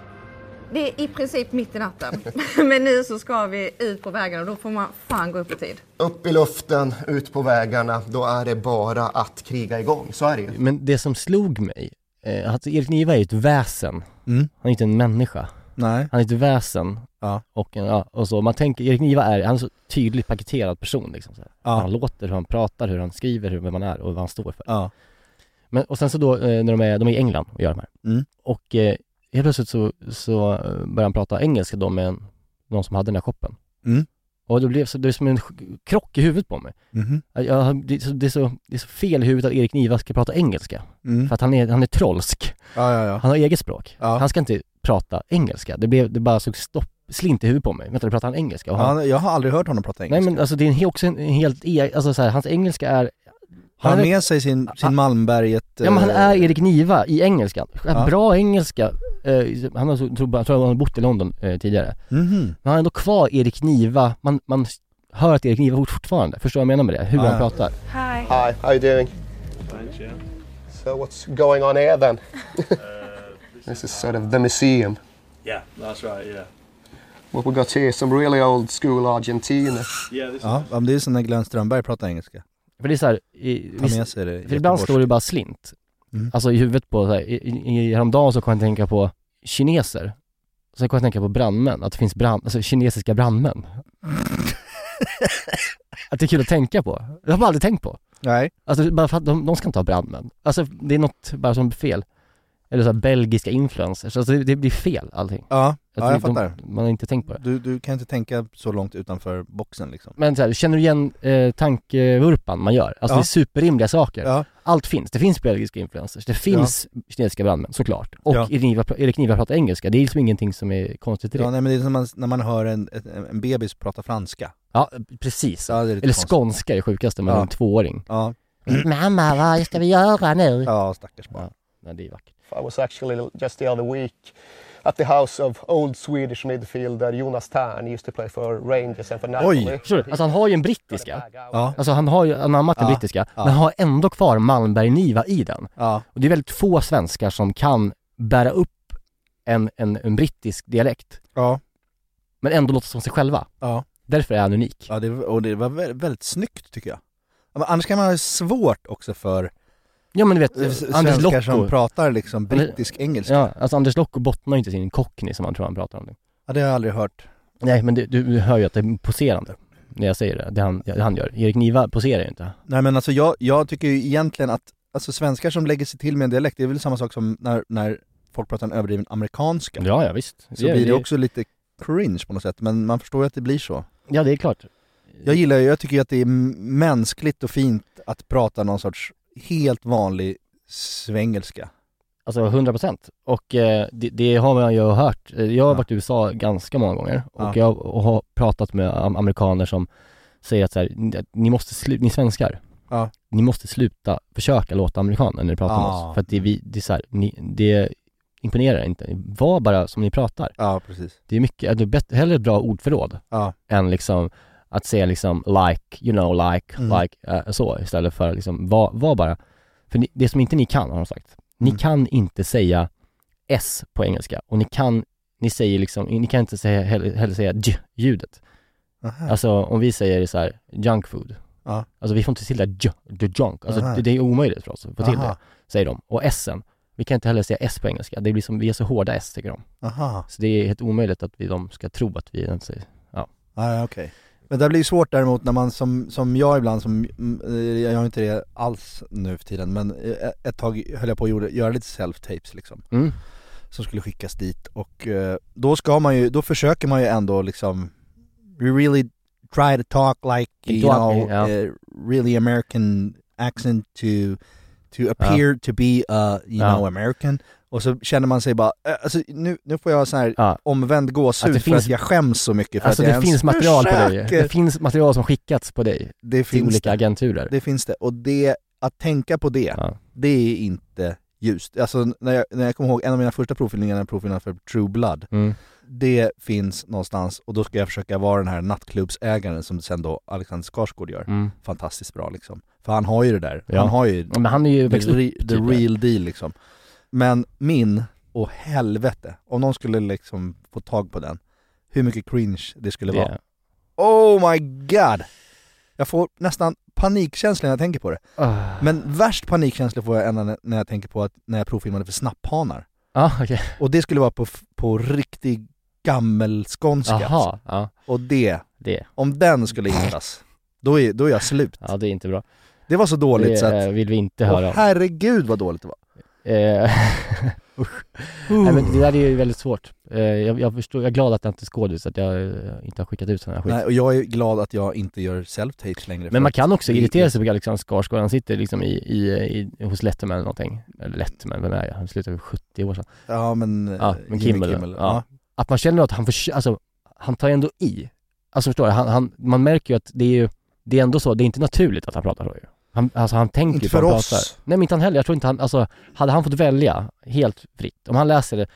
Det är i princip mitt i natten. Men nu så ska vi ut på vägarna och då får man fan gå upp i tid.
Upp i luften, ut på vägarna, då är det bara att kriga igång. Så är det ju.
Men det som slog mig, eh, att Erik Niva är ju ett väsen.
Mm.
Han är inte en människa.
Nej.
Han är ett väsen.
Ja.
Och, en- ja, och så, man tänker, Erik Niva är, han är så tydligt paketerad person liksom. Så här. Hur han
Ja.
låter, hur han pratar, hur han skriver, hur, vem han är och vad han står för.
Ja.
Men, och sen så då, eh, när de är, de är i England och gör de här.
Mm.
Och eh, helt plötsligt så, så eh, börjar han prata engelska då med en, någon som hade den här shoppen.
Mm.
Och det blev så, det är som en sk- krock i huvudet på mig.
Mhm.
Jag- Jag, det, är så, det, är så, det är så fel i huvudet att Erik Niva ska prata engelska.
Mm.
För att han är, han är trollsk.
Ja, ja, ja.
Han har eget språk.
Ja.
Han ska inte prata engelska. Det, blev, det bara såg stopp, slint i huvudet på mig. Vänta, nu pratar han engelska? Och han,
Han, jag har aldrig hört honom prata engelska.
Nej men alltså det är en, he- också en, en helt, e- alltså så här, hans engelska är
har han
han är-
med sig sin, sin
han-
Malmberget...
Ja men han
eh,
är Erik Niva i engelskan.
Ja.
Bra engelska. Eh, han har, så- tror, jag tror han har bott i London eh, tidigare.
Mhm.
Men han är ändå kvar Erik Niva, man, man hör att Erik Niva fort- fortfarande. Förstår vad jag menar med det? Hur
Ja,
han
ja.
pratar.
Hi, how you doing? So what's going on here then? this is sort of the museum.
Yeah, that's right, yeah.
What we got here, some really old school Argentina.
Yeah, this
Ja, ja, men det är som när Glenn Strömberg pratar engelska.
För det är så här, i,
Ta med
visst,
sig det
för ibland slår det
göteborgska.
bara slint.
Mm.
Alltså i huvudet på, så här, i, i, i- häromdagen så kom jag att tänka på kineser. Sen kom jag att tänka på brandmän, att det finns brand, alltså kinesiska brandmän. att det är kul att tänka på. Det har man aldrig tänkt på.
Nej.
Alltså bara för att de, de ska inte ha brandmän. Alltså det är något bara som är fel. Eller så här, belgiska influencers, alltså det, det blir fel allting.
Ja,
Alltså,
ja jag
de,
fattar.
Man har inte tänkt på det.
Du, du kan inte tänka så långt utanför boxen liksom.
Men så här, känner du igen eh, tankevurpan man gör? Alltså
Ja.
det är superrimliga saker.
Ja,
Allt finns, det finns belgiska influencers, det finns kinesiska brandmän såklart. Och
Ja.
Erik Niva- Erik Niva pratar engelska, det är liksom ingenting som är konstigt i det.
ja
Ja,
nej, men det är som man, när man hör en, ett- en bebis prata franska.
precis.
Ja, det är lite
Eller
konstigt.
skånska är det sjukaste med
Ja.
en tvååring.
Ja,
Mamma, vad ska vi göra nu?
ja stackars barn.
Nej, det är vackert.
I was actually just the other week. at the house of old Swedish midfielder Jonas Tern. He used to play for Rangers and for Napoli.
Oj! Förstår du? Alltså han har ju en brittiska.
Ja.
Alltså han har ju, han har anammat den
Ja.
brittiska,
Ja.
men han har ändå kvar Malmberg-Niva i den.
Ja.
Och det är väldigt få svenskar som kan bära upp en, en, en brittisk dialekt.
Ja.
Men ändå låta som sig själva.
Ja.
Därför är han unik.
Ja, det, och det var väldigt, väldigt snyggt tycker jag. Ja, men Annars kan man ha svårt också för
Ja men du vet,
s-
Anders
svenskar
Locko.
som pratar liksom brittisk engelska.
Ja, alltså Anders Locko bottnar ju inte sin cockney som han tror han pratar om. nu.
Ja, det har jag aldrig hört.
Nej men du, du hör ju att det är poserande. När jag säger det, det han, det han gör. Erik Niva poserar ju inte.
Nej men alltså jag, jag tycker ju egentligen att, alltså svenskar som lägger sig till med en dialekt, det är väl samma sak som när, när folk pratar en överdriven amerikanska.
Ja, ja visst.
Så blir det också lite cringe på något sätt, men man förstår ju att det blir så.
Ja det är klart.
Jag gillar ju, jag tycker ju att det är m- mänskligt och fint att prata någon sorts helt vanlig svengelska.
Alltså 100 procent. Och eh, det, det har man ju hört. Eh, Jag har varit i USA ganska många gånger och
Ja.
jag och har pratat med am- amerikaner som säger att så här, "Ni- ni måste sluta, ni svenskar,
Ja.
ni måste sluta försöka låta amerikaner när ni pratar med
Ja.
oss. För att det, är vi, det är så här, ni, det imponerar inte. Var bara som ni pratar.
Ja, precis.
Det är mycket, det är bättre, hellre ett bra ordförråd
Ja.
än liksom att säga liksom like, you know, like,
Mm.
like, eh, så istället för liksom, var, var bara. För ni, det som inte ni kan har de sagt, ni
Mm.
kan inte säga s på engelska och ni kan, ni säger liksom, ni kan inte säga, heller, heller säga j-ljudet.
Aha.
Alltså om vi säger så här, junk food,
Ja.
alltså vi får inte till det där j, the junk, alltså
Aha.
det, det är omöjligt för oss att få till
Aha.
det, säger de. Och s-en, vi kan inte heller säga s på engelska, det blir som, vi är så hårda s tycker de.
Aha.
Så det är helt omöjligt att vi, de ska tro att vi ens är, ja.
Ah, ja, okej. Men det blir ju svårt däremot när man som, som jag ibland som, mm, eh, jag gör inte det alls nu för tiden men eh, ett tag höll jag på att gjorde- göra lite self-tapes liksom.
Mm.
Som skulle skickas dit och eh, då ska man ju, då försöker man ju ändå liksom We really try to talk like you
Talk,
know,
ja.
eh, really American accent to to appear to be a, you
Ja.
know, American. Och så känner man sig bara, eh, alltså nu, nu får jag så här omvänd gåshud
Att det
för
finns-
att jag skäms så mycket för
Alltså
att
det
jag ens
finns material på dig.
försöker.
Det finns material som skickats på dig.
Det
till
finns
olika
det.
agenturer.
Det finns det. Och det, att tänka på det, det är inte ljust. Alltså när jag, när jag kommer ihåg en av mina första provfyllningar, en provfyllnad för True Blood,
Mm.
det finns någonstans och då ska jag försöka vara den här nattklubbsägaren som sen då Alexander Skarsgård gör.
Mm.
Fantastiskt bra liksom. För han har ju det där.
Ja.
Han har ju,
Ja, men han är ju
the,
växt upp,
re,
typ
the
där.
real deal liksom. Men min, och helvete, om någon skulle liksom få tag på den, hur mycket cringe det skulle
Det-
vara. Oh my god! Jag får nästan panikkänsla när jag tänker på det.
Ah.
Men värst panikkänsla får jag ändå när- när jag tänker på att när jag provfilmade för snapphanar.
Ja, okej.
Och det skulle vara på, f- på riktig gammelskånska.
Jaha, ja.
Och det,
Det.
om den skulle hindras, då är, då är jag slut.
Ja, det är inte bra.
Det var så dåligt
Det,
så att...
eh, vill vi inte
Åh,
höra om.
herregud vad dåligt det var.
Eh, usch. Nej, men det där är ju väldigt svårt. Eh, jag, jag, förstår, jag är glad att jag inte är skådis, att jag eh, inte har skickat ut sån här skit.
Nej, och jag är glad att jag inte gör self-tapes längre. för
men man kan
att
också
det-
irritera sig på Alexander Skarsgård, han sitter liksom i, i, i, hos Letterman eller någonting. Eller Letterman, vem är jag? Han slutade för 70 år sedan.
Ja men, eh,
Ja, men
Jimmy
Kimmel, ja. Att man känner att han förs- alltså, han tar ändå i. Alltså förstår du, han, han, man märker ju att det är ju, det är ändå så, det är inte naturligt att han pratar så ju. Han, alltså han tänker
Inte
ju på
för
han
oss.
pratar. Nej men inte han heller, jag tror inte han, alltså hade han fått välja helt fritt, om han läser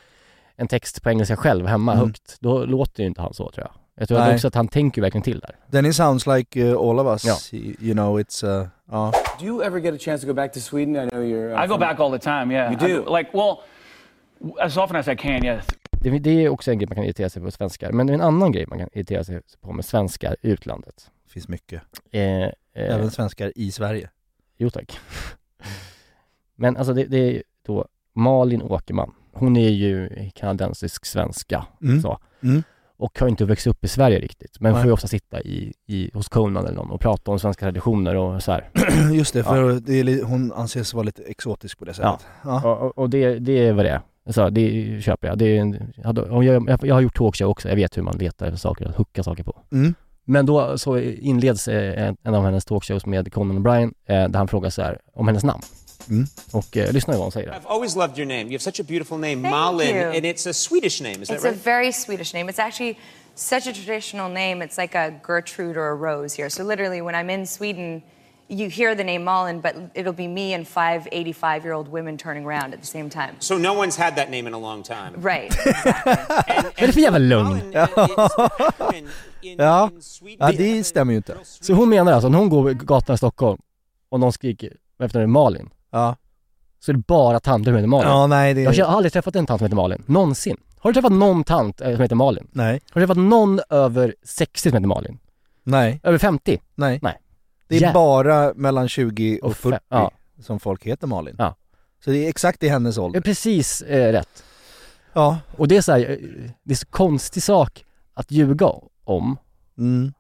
en text på engelska själv hemma
Mm.
högt, då låter ju inte han så tror jag. Jag tror
Nej.
också att han tänker verkligen till där.
Then it sounds like uh, all of us,
Ja.
you you know, it's... Uh, ja.
Do you ever get a chance to go back to Sweden? I know you're.
I go back all the time. Yeah,
You do?
I- like, well, as often as I can. Yes.
Det, det är också en grej man kan irritera sig på svenskar, men en annan grej man kan irritera sig på med svenskar i utlandet.
finns mycket.
Eh, eh,
Även svenskar i Sverige.
Jo tack. Men alltså det, det är ju då Malin Åkerman. Hon är ju kanadensisk svenska
Mm.
så.
Mm.
och har inte växt upp i Sverige riktigt. Men
Nej.
får ju ofta sitta i, i, hos Conan eller någon och prata om svenska traditioner och så här.
Just det, för det är, li- hon anses vara lite exotisk på det
Ja.
sättet.
Och, och- och det, det är vad det är. Så här, det köper jag. Det är en, jag, hade- om jag, jag har gjort talkshow också, jag vet hur man letar efter saker att hucka saker på.
Mm.
Men då så inleds eh, en- en av hennes talkshows med Conan O'Brien, eh, där han frågar så här om hennes namn.
Mm.
Och eh, lyssna på vad hon säger.
I've always loved your name. You have such a beautiful name, Malin,
you.
and it's a Swedish name. Is
it's
that
a
right?
very Swedish name. It's actually such a traditional name. It's like a Gertrude or a Rose here. So literally, when I'm in Sweden, you hear the name Mullen, but it'll be me and five 85 year old women turning around at the same time.
So no one's had that name in a long time.
Right.
Vad är det för jävla lögn?
ja. ja, det stämmer ju inte.
Så hon menar alltså, när hon går gatan i Stockholm och någon skriker efter henne Malin
Ja
Så är det bara tanter som heter Malin
Ja, nej, det-
Jag har aldrig träffat en tant som heter Malin, någonsin Har du träffat någon tant eh, som heter Malin?
Nej
Har du träffat någon över 60 som heter Malin?
Nej.
Över 50?
Nej.
Nej
Det är
Jävlar.
bara mellan 20 och 40
ja.
som folk heter Malin.
Ja.
Så det är exakt i hennes
Det är
ålder.
precis eh, rätt
Ja
Och det är så här, eh, det är så konstig sak att ljuga om
Mm.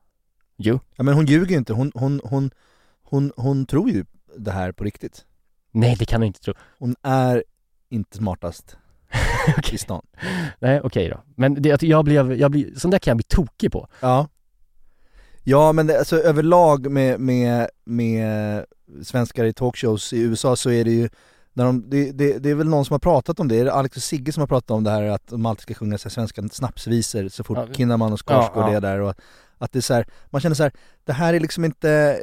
Jo.
Ja, men hon ljuger ju inte, hon, hon, hon, hon, hon tror ju det här på riktigt.
Nej det kan du inte tro
Hon är inte smartast i stan.
Nej okej då, men det, att jag blev, jag blev, sånt där kan jag bli tokig på
Ja. Ja men det, alltså överlag med, med, med svenskar i talkshows i USA så är det ju när de, det, det, det är väl någon som har pratat om det, är det Alex och Sigge som har pratat om det här att de alltid ska sjunga så här svenska snapsvisor så fort
Ja.
Kinnaman och Skarsgård
Ja, ja.
är där och att det är så här, man känner så här, det här är liksom inte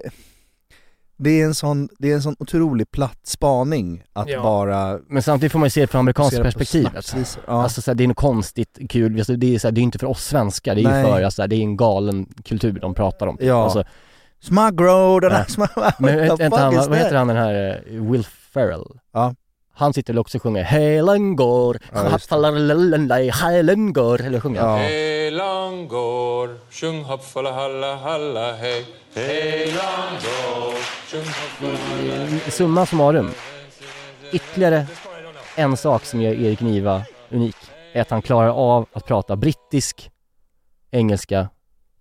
det är en sån, det är en sån otrolig platt spaning att
Ja.
bara
Men samtidigt får man ju se det från amerikanska
Fokusera på
perspektivet.
snapsvisor, ja.
Alltså så här, det är något konstigt kul, alltså, det är, så här, det är inte för oss svenskar, det är
Nej.
ju för, alltså, det är en galen kultur de pratar om.
Ja.
Alltså,
Smuggro, den här
Nej.
smug-
men
what
vet,
the
inte
fuck
han,
is
vad heter
that?
han den här eh, Will Ferrell?
Ja.
Han sitter väl också och sjunger Helen går,
Ja, just
haffalalalala, Helen går, eller sjunger han?
Hej långgård, sjung hoppfulla halla halla hej. Hej långgård, sjung hoppfulla halla hej.
Summa summarum, ytterligare en sak som gör Erik Niva unik är att han klarar av att prata brittisk engelska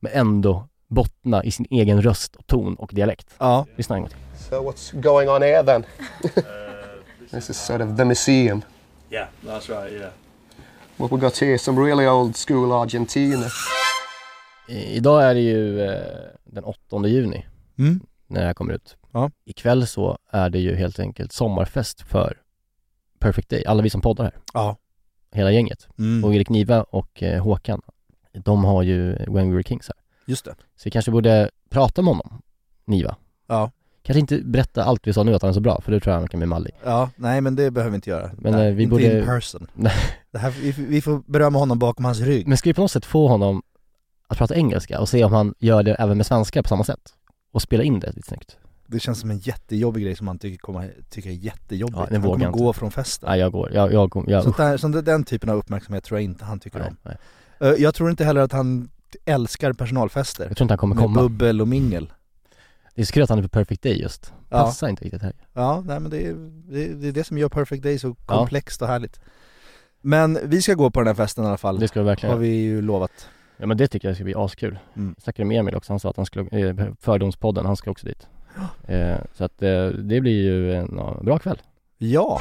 men ändå bottna i sin egen röst, och ton och dialekt.
Ja.
Lyssna en gång till.
So what's going on here then? this is sort of the museum.
Uh, Yeah, that's right, yeah.
What we got here, some really old school Argentina.
I- Idag är det ju eh, den 8 juni
Mm.
när det här kommer ut.
Ja.
Ikväll så är det ju helt enkelt sommarfest för Perfect Day, alla vi som poddar här.
Ja.
Hela gänget.
Mm.
Och Erik Niva och eh, Håkan, de har ju When We Were Kings här.
Just det.
Så vi kanske borde prata med honom, Niva.
Ja.
Kanske inte berätta allt vi sa nu att han är så bra, för då tror jag han kan bli mallig.
Ja, nej men det behöver vi inte göra.
Men,
nej,
eh, vi
inte
borde-
in person.
Nej.
Det här, vi, vi får berömma honom bakom hans rygg.
Men ska vi på något sätt få honom att prata engelska och se om han gör det även med svenskar på samma sätt? Och spela in det lite snyggt.
Det känns som en jättejobbig grej som han tycker, kommer, tycker är jättejobbigt.
Ja, det
han
vågar
kommer
jag
gå
inte.
från festen.
Nej jag går, jag, jag, jag, jag
Sånt där, sånt där, den typen av uppmärksamhet tror jag inte han tycker
Nej,
om.
nej.
Eh, Jag tror inte heller att han älskar personalfester.
Jag tror inte han kommer
med
komma.
bubbel och mingel.
Det är så kul att han är på Perfect Day just.
Ja.
Passar inte riktigt här.
Ja, nej men det är, det är det är det som gör Perfect Day så komplext och härligt. Men vi ska gå på den här festen i alla fall.
Det ska vi verkligen
Har vi ju lovat.
Ja men det tycker jag ska bli askul.
Mm.
Jag snackade med Emil också, han sa att han skulle, eh, Fördomspodden, han ska också dit. Eh, så att eh, det blir ju en ja, bra kväll.
Ja!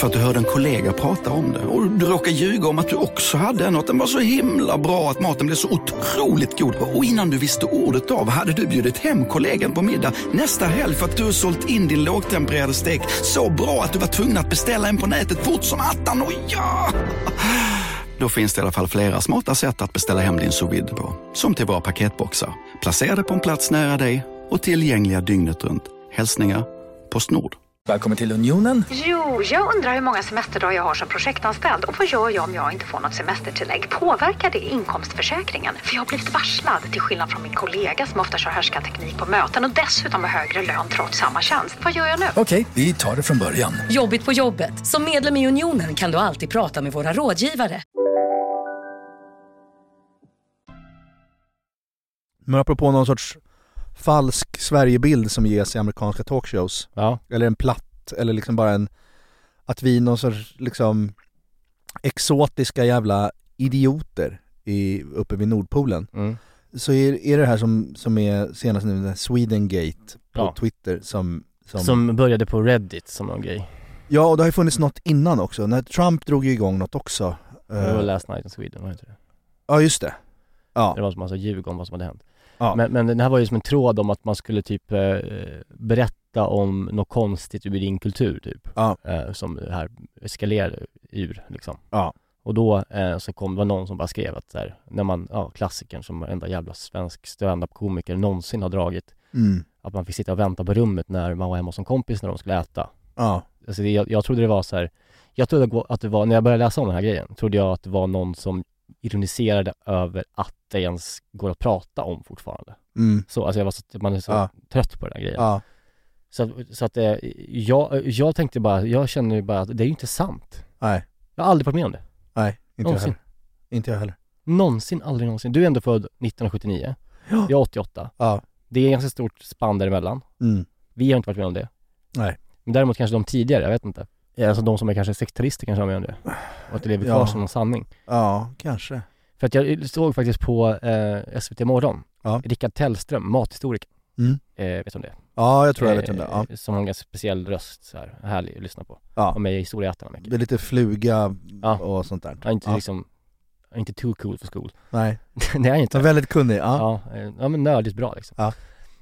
för att du hörde en kollega prata om det och du råkade ljuga om att du också hade en och att den var så himla bra att maten blev så otroligt god och innan du visste ordet av hade du bjudit hem kollegan på middag nästa helg för att du sålt in din lågtempererade stek så bra att du var tvungen att beställa en på nätet fort som attan. Och ja! Då finns det i alla fall flera smarta sätt att beställa hem din sous vide på. Som till våra paketboxar. Placerade på en plats nära dig och tillgängliga dygnet runt. Hälsningar Postnord.
Välkommen till Unionen.
Jo, jag undrar hur många semesterdagar jag har som projektanställd och vad gör jag om jag inte får något semestertillägg? Påverkar det inkomstförsäkringen? För jag har blivit varslad, till skillnad från min kollega som ofta kör härskarteknik på möten och dessutom har högre lön trots samma tjänst. Vad gör jag nu?
Okej, vi tar det från början.
Jobbigt på jobbet. Som medlem i Unionen kan du alltid prata med våra rådgivare.
Men apropå någon sorts falsk Sverigebild som ges i amerikanska talkshows. Eller en platt, eller liksom bara en... Att vi är någon sorts liksom exotiska jävla idioter i, uppe vid Nordpolen.
Mm.
Så är, är det här som, som är senast nu, den här Swedengate på
Ja.
Twitter som, som...
Som började på Reddit som någon grej.
Ja, och det har ju funnits något innan också. När Trump drog ju igång något också.
Det var Last Night in Sweden, var det inte det?
Ja just det.
Det var en massa ljug om vad som hade hänt. Men, men den här var ju som en tråd om att man skulle typ eh, berätta om något konstigt ur din kultur typ. Eh, som det här eskalerade ur liksom.
Ja.
Och då eh, så kom, var någon som bara skrev att så här, när man, ja klassikern som varenda jävla svensk standup-komiker någonsin har dragit.
Mm.
Att man fick sitta och vänta på rummet när man var hemma hos en kompis när de skulle äta.
Ja.
Alltså det, jag, jag trodde det var så här, jag trodde att det var, när jag började läsa om den här grejen, trodde jag att det var någon som ironiserade över att det ens går att prata om fortfarande.
Mm.
Så, alltså jag var så, man är så
Ja.
trött på den här grejen.
Ja.
Så, att- så att eh, jag, jag tänkte bara, jag känner ju bara att det är ju inte sant.
Nej.
Jag har aldrig varit med om det.
Nej, inte jag
Någonsin.
heller. Inte jag heller.
Någonsin, aldrig någonsin. Du är ändå född 1979.
Ja.
Jag är 88.
Ja.
Det är ganska stort spann däremellan.
Mm.
Vi har inte varit med om det.
Nej.
Men däremot kanske de tidigare, jag vet inte. Alltså de som är kanske 60-talister kanske har med om det. Och att det lever kvar
Ja.
som någon sanning.
Ja, kanske.
För att jag såg faktiskt på eh, SVT Morgon, Rickard Tellström, mathistoriker.
Mm.
Eh, vet du om det? Eh,
Ja, jag tror jag vet om det. Ja.
Som har en ganska speciell röst så här, härlig att lyssna på.
Ja.
Och med i Historieätarna mycket.
Det är lite fluga och sånt där.
Han är inte
Ja.
liksom, han är inte too cool för skol.
Nej.
det är han inte.
Men väldigt kunnig, ja.
Ja, eh, ja men nördigt bra liksom.
Ja.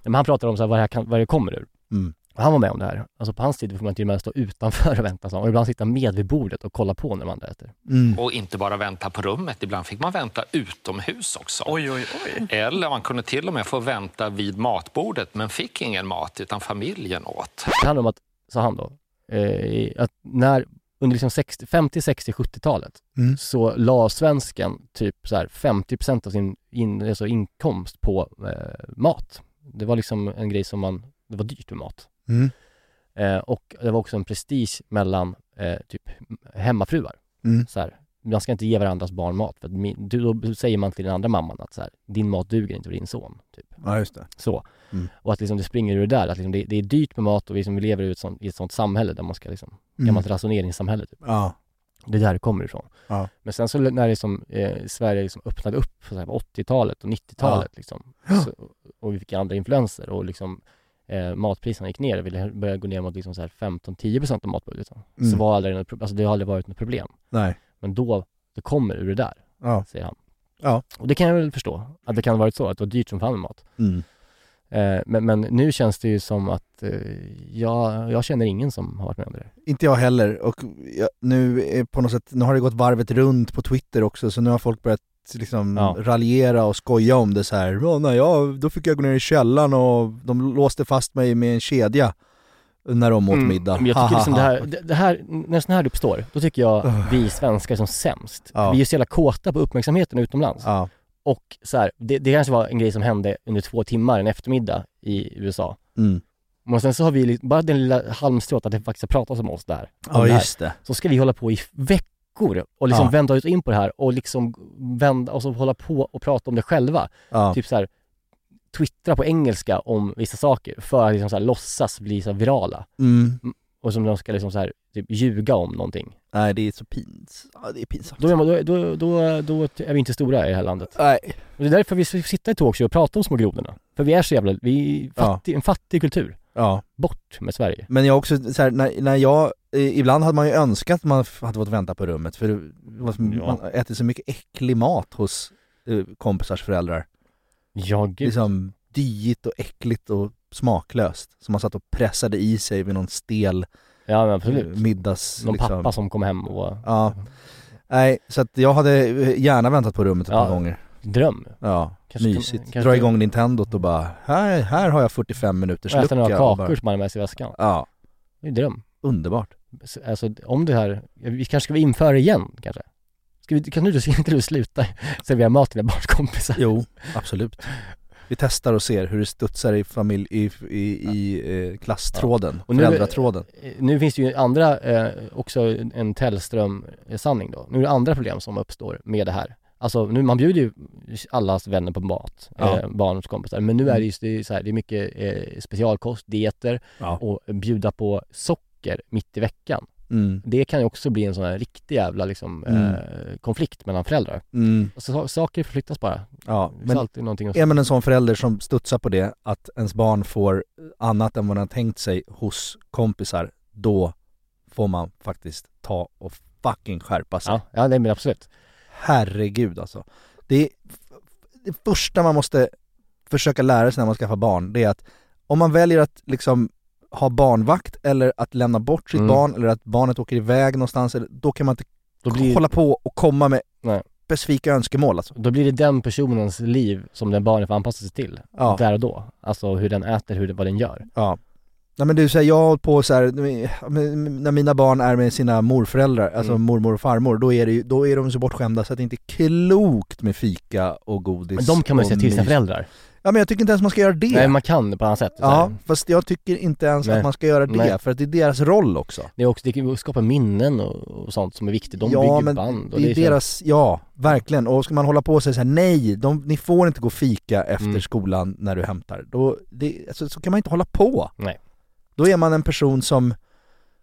Men han pratar om så här, vad, det här kan, vad det kommer ur.
Mm.
Och han var med om det här. Alltså på hans tid får man till och med stå utanför och vänta, sa han. Och ibland sitta med vid bordet och kolla på när de andra äter.
Mm.
Och inte bara vänta på rummet, ibland fick man vänta utomhus också.
Oj, oj, oj.
Eller man kunde till och med få vänta vid matbordet, men fick ingen mat utan familjen åt.
Det handlar om att, sa han då, eh, att när, under liksom 60, 50, 60, 70-talet
Mm.
så la svensken typ så här 50% av sin in, alltså inkomst på eh, mat. Det var liksom en grej som man, det var dyrt med mat.
Mm.
Eh, och det var också en prestige mellan eh, typ hemmafruar.
Mm.
Så här, man ska inte ge varandras barn mat, för att min, du, då säger man till den andra mamman att så här, din mat duger inte för din son. Typ.
Ja, just det.
Så.
Mm.
Och att liksom det springer ur det där, att liksom det, det är dyrt med mat och vi liksom lever i ett sånt, i ett sånt samhälle där man ska liksom,
Mm.
gammalt ransoneringssamhälle typ.
Ja.
Det är där det kommer ifrån.
Ja.
Men sen så när liksom, eh, Sverige liksom öppnade upp så här, på 80-talet och 90-talet
Ja.
liksom, så, och vi fick andra influenser och liksom eh, matpriserna gick ner, vi började gå ner mot liksom så här 15-10% av matbudgeten. Så
Mm.
var aldrig något, pro- alltså det har aldrig varit något problem.
Nej.
Men då, det kommer ur det där,
Ja.
säger han.
Ja.
Och det kan jag väl förstå, att det kan ha varit så, att det var dyrt som fan med mat.
Mm.
Eh, men, men nu känns det ju som att eh, jag, jag känner ingen som har varit med om det där.
Inte jag heller. Och jag, nu, är på något sätt, nu har det gått varvet runt på Twitter också, så nu har folk börjat liksom
Ja.
raljera och skoja om det så här. "Ja, när jag, då fick jag gå ner i källaren och de låste fast mig med en kedja när de åt
Mm,
middag.
Men jag tycker
Ha, ha,
liksom det
ha.
här, det, det här, när sådana här uppstår, då tycker jag vi svenskar är som sämst.
Ja.
Vi är så jävla kåta på uppmärksamheten utomlands.
Ja.
Och så här, det, det kanske var en grej som hände under två timmar en eftermiddag i USA.
Mm.
Men sen så har vi, li- bara den lilla halmstrået att det faktiskt har pratats om oss där.
Ja,
om här.
just det.
Så ska vi hålla på i veckor och liksom
Ja.
vända ut och in på det här och liksom vända, och så hålla på och prata om det själva.
Ja.
Typ så här, twittra på engelska om vissa saker för att liksom så här, låtsas bli så här virala.
Mm.
M- Och som de ska liksom så här, typ ljuga om någonting.
Nej, det är så pinsamt. Ja, det är pinsamt.
Då är, man, då, då, då, då är vi inte stora i det här landet.
Nej.
Och det är därför vi s- sitter i talkshow och pratar om små grodorna. För vi är så jävla, vi är fattig, en fattig kultur.
Ja.
Bort med Sverige.
Men jag också, så här, när, när jag, eh, ibland hade man ju önskat att man f- hade fått vänta på rummet för det var, som-
Ja.
man äter så mycket äcklig mat hos eh, kompisars föräldrar.
Ja, gud.
Liksom dyigt och äckligt och smaklöst. Som man satt och pressade i sig vid någon stel
Ja, men absolut.
eh, middags...
Någon pappa som kom hem och var-
Ja. Nej, så att jag hade eh, gärna väntat på rummet ett
Ja,
par gånger.
dröm.
Ja,
Kanske-
mysigt.
kanske-
Dra igång Nintendot och bara, här, här har jag 45 minuters
Och äta några
lucka och
kakor som man har med sig i väskan.
Ja.
Det är en dröm.
Underbart.
Alltså om det här, vi kanske ska vi införa igen kanske? Ska vi, kan du, ska inte du sluta servera mat till dina barns kompisar?
Jo, absolut. Vi testar och ser hur det studsar i, familj, i, i, i eh, klasstråden,
Och nu-
föräldratråden.
Eh, Nu finns det ju andra, eh, också en Tellström-sanning då. Nu är det andra problem som uppstår med det här. Alltså nu, man bjuder ju allas vänner på mat,
Ja. Mm.
eh, barnens kompisar. Men nu är det just det är så här, det är mycket eh, specialkost, dieter
Ja.
och bjuda på socker mitt i veckan.
Mm.
Det kan ju också bli en sån här riktig jävla liksom,
Mm.
eh, konflikt mellan föräldrar.
Mm.
Alltså, sa- saker förflyttas bara.
Ja,
det finns
men
alltid någonting att-
är man en sån förälder som studsar på det, att ens barn får annat än vad man har tänkt sig hos kompisar, då får man faktiskt ta och fucking skärpa sig.
Ja, ja nej men absolut.
Herregud alltså. Det, är, det första man måste försöka lära sig när man skaffar barn, det är att om man väljer att liksom ha barnvakt eller att lämna bort sitt
Mm.
barn eller att barnet åker iväg någonstans, eller- då kan man inte
Då blir-
hålla på och komma med
Nej.
specifika önskemål alltså.
Då blir det den personens liv som den barnet får anpassa sig till,
Ja.
där och då. Alltså hur den äter, hur, vad den gör.
Ja. Nej men du, så här, jag har hållit på så här, när mina barn är med sina morföräldrar, alltså
Mm.
mormor och farmor, då är, det ju, då är de så bortskämda så att det inte är klokt med fika och godis
Men de kan man ju
och
säga till sina
mys.
föräldrar.
Ja men jag tycker inte ens man ska göra det.
Nej, man kan det på annat sätt. Så
Ja,
här.
fast jag tycker inte ens
Nej.
att man ska göra det,
Nej.
för att det är deras roll också.
Det är också, det kan ju skapa minnen och, och sånt som är viktigt. De
ja,
bygger
men
band och
det är
så här-
deras, ja verkligen. Och ska man hålla på och säga så här, nej, de, ni får inte gå och fika efter
Mm.
skolan när du hämtar. Då, det, alltså, så kan man inte hålla på.
Nej.
Då är man en person som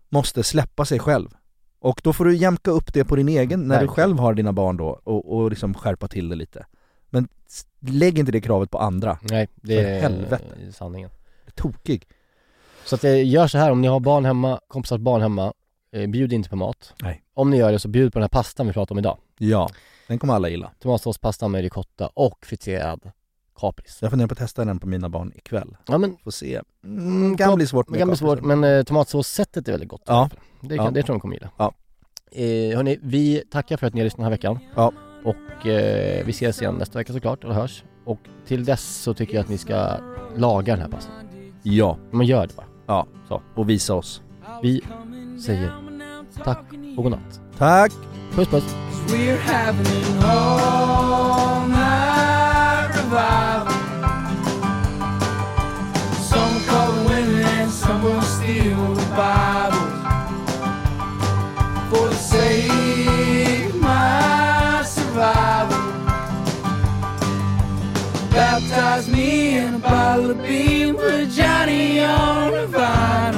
måste släppa sig själv. Och då får du jämka upp det på din egen, när du
Verkligen.
själv har dina barn då, och, och liksom skärpa till det lite. Men s- lägg inte det kravet på andra.
Nej, det
För
är
helvete.
sanningen.
Tokig.
Så att eh, gör så här, om ni har barn hemma, kompisars barn hemma, eh, bjud inte på mat.
Nej.
Om ni gör det så bjud på den här pastan vi pratade om idag.
Ja, den kommer alla gilla.
Tomatsåspasta med ricotta och friterad kapris.
Jag funderar på att testa den på mina barn ikväll.
Ja men
Får se. Mm, kan bli svårt
Det
med
kan bli
kapris.
svårt, men eh, tomatsåssättet är väldigt gott. i alla fall. Det, kan,
Ja.
det tror jag de kommer gilla.
Ja.
Eh, hörni, vi tackar för att ni har lyssnat den här veckan.
Ja.
Och eh, vi ses igen nästa vecka såklart, och hörs. Och till dess så tycker jag att ni ska laga den här pastan.
Ja.
Men gör det bara.
Ja.
Så.
Och visa oss.
Vi säger tack och godnatt.
Tack!
Puss puss!
We're having an all-night revival. Some call it winning and some will steal the Bible. For the sake of my survival. Baptize me in a bottle of beer with Johnny on the vine.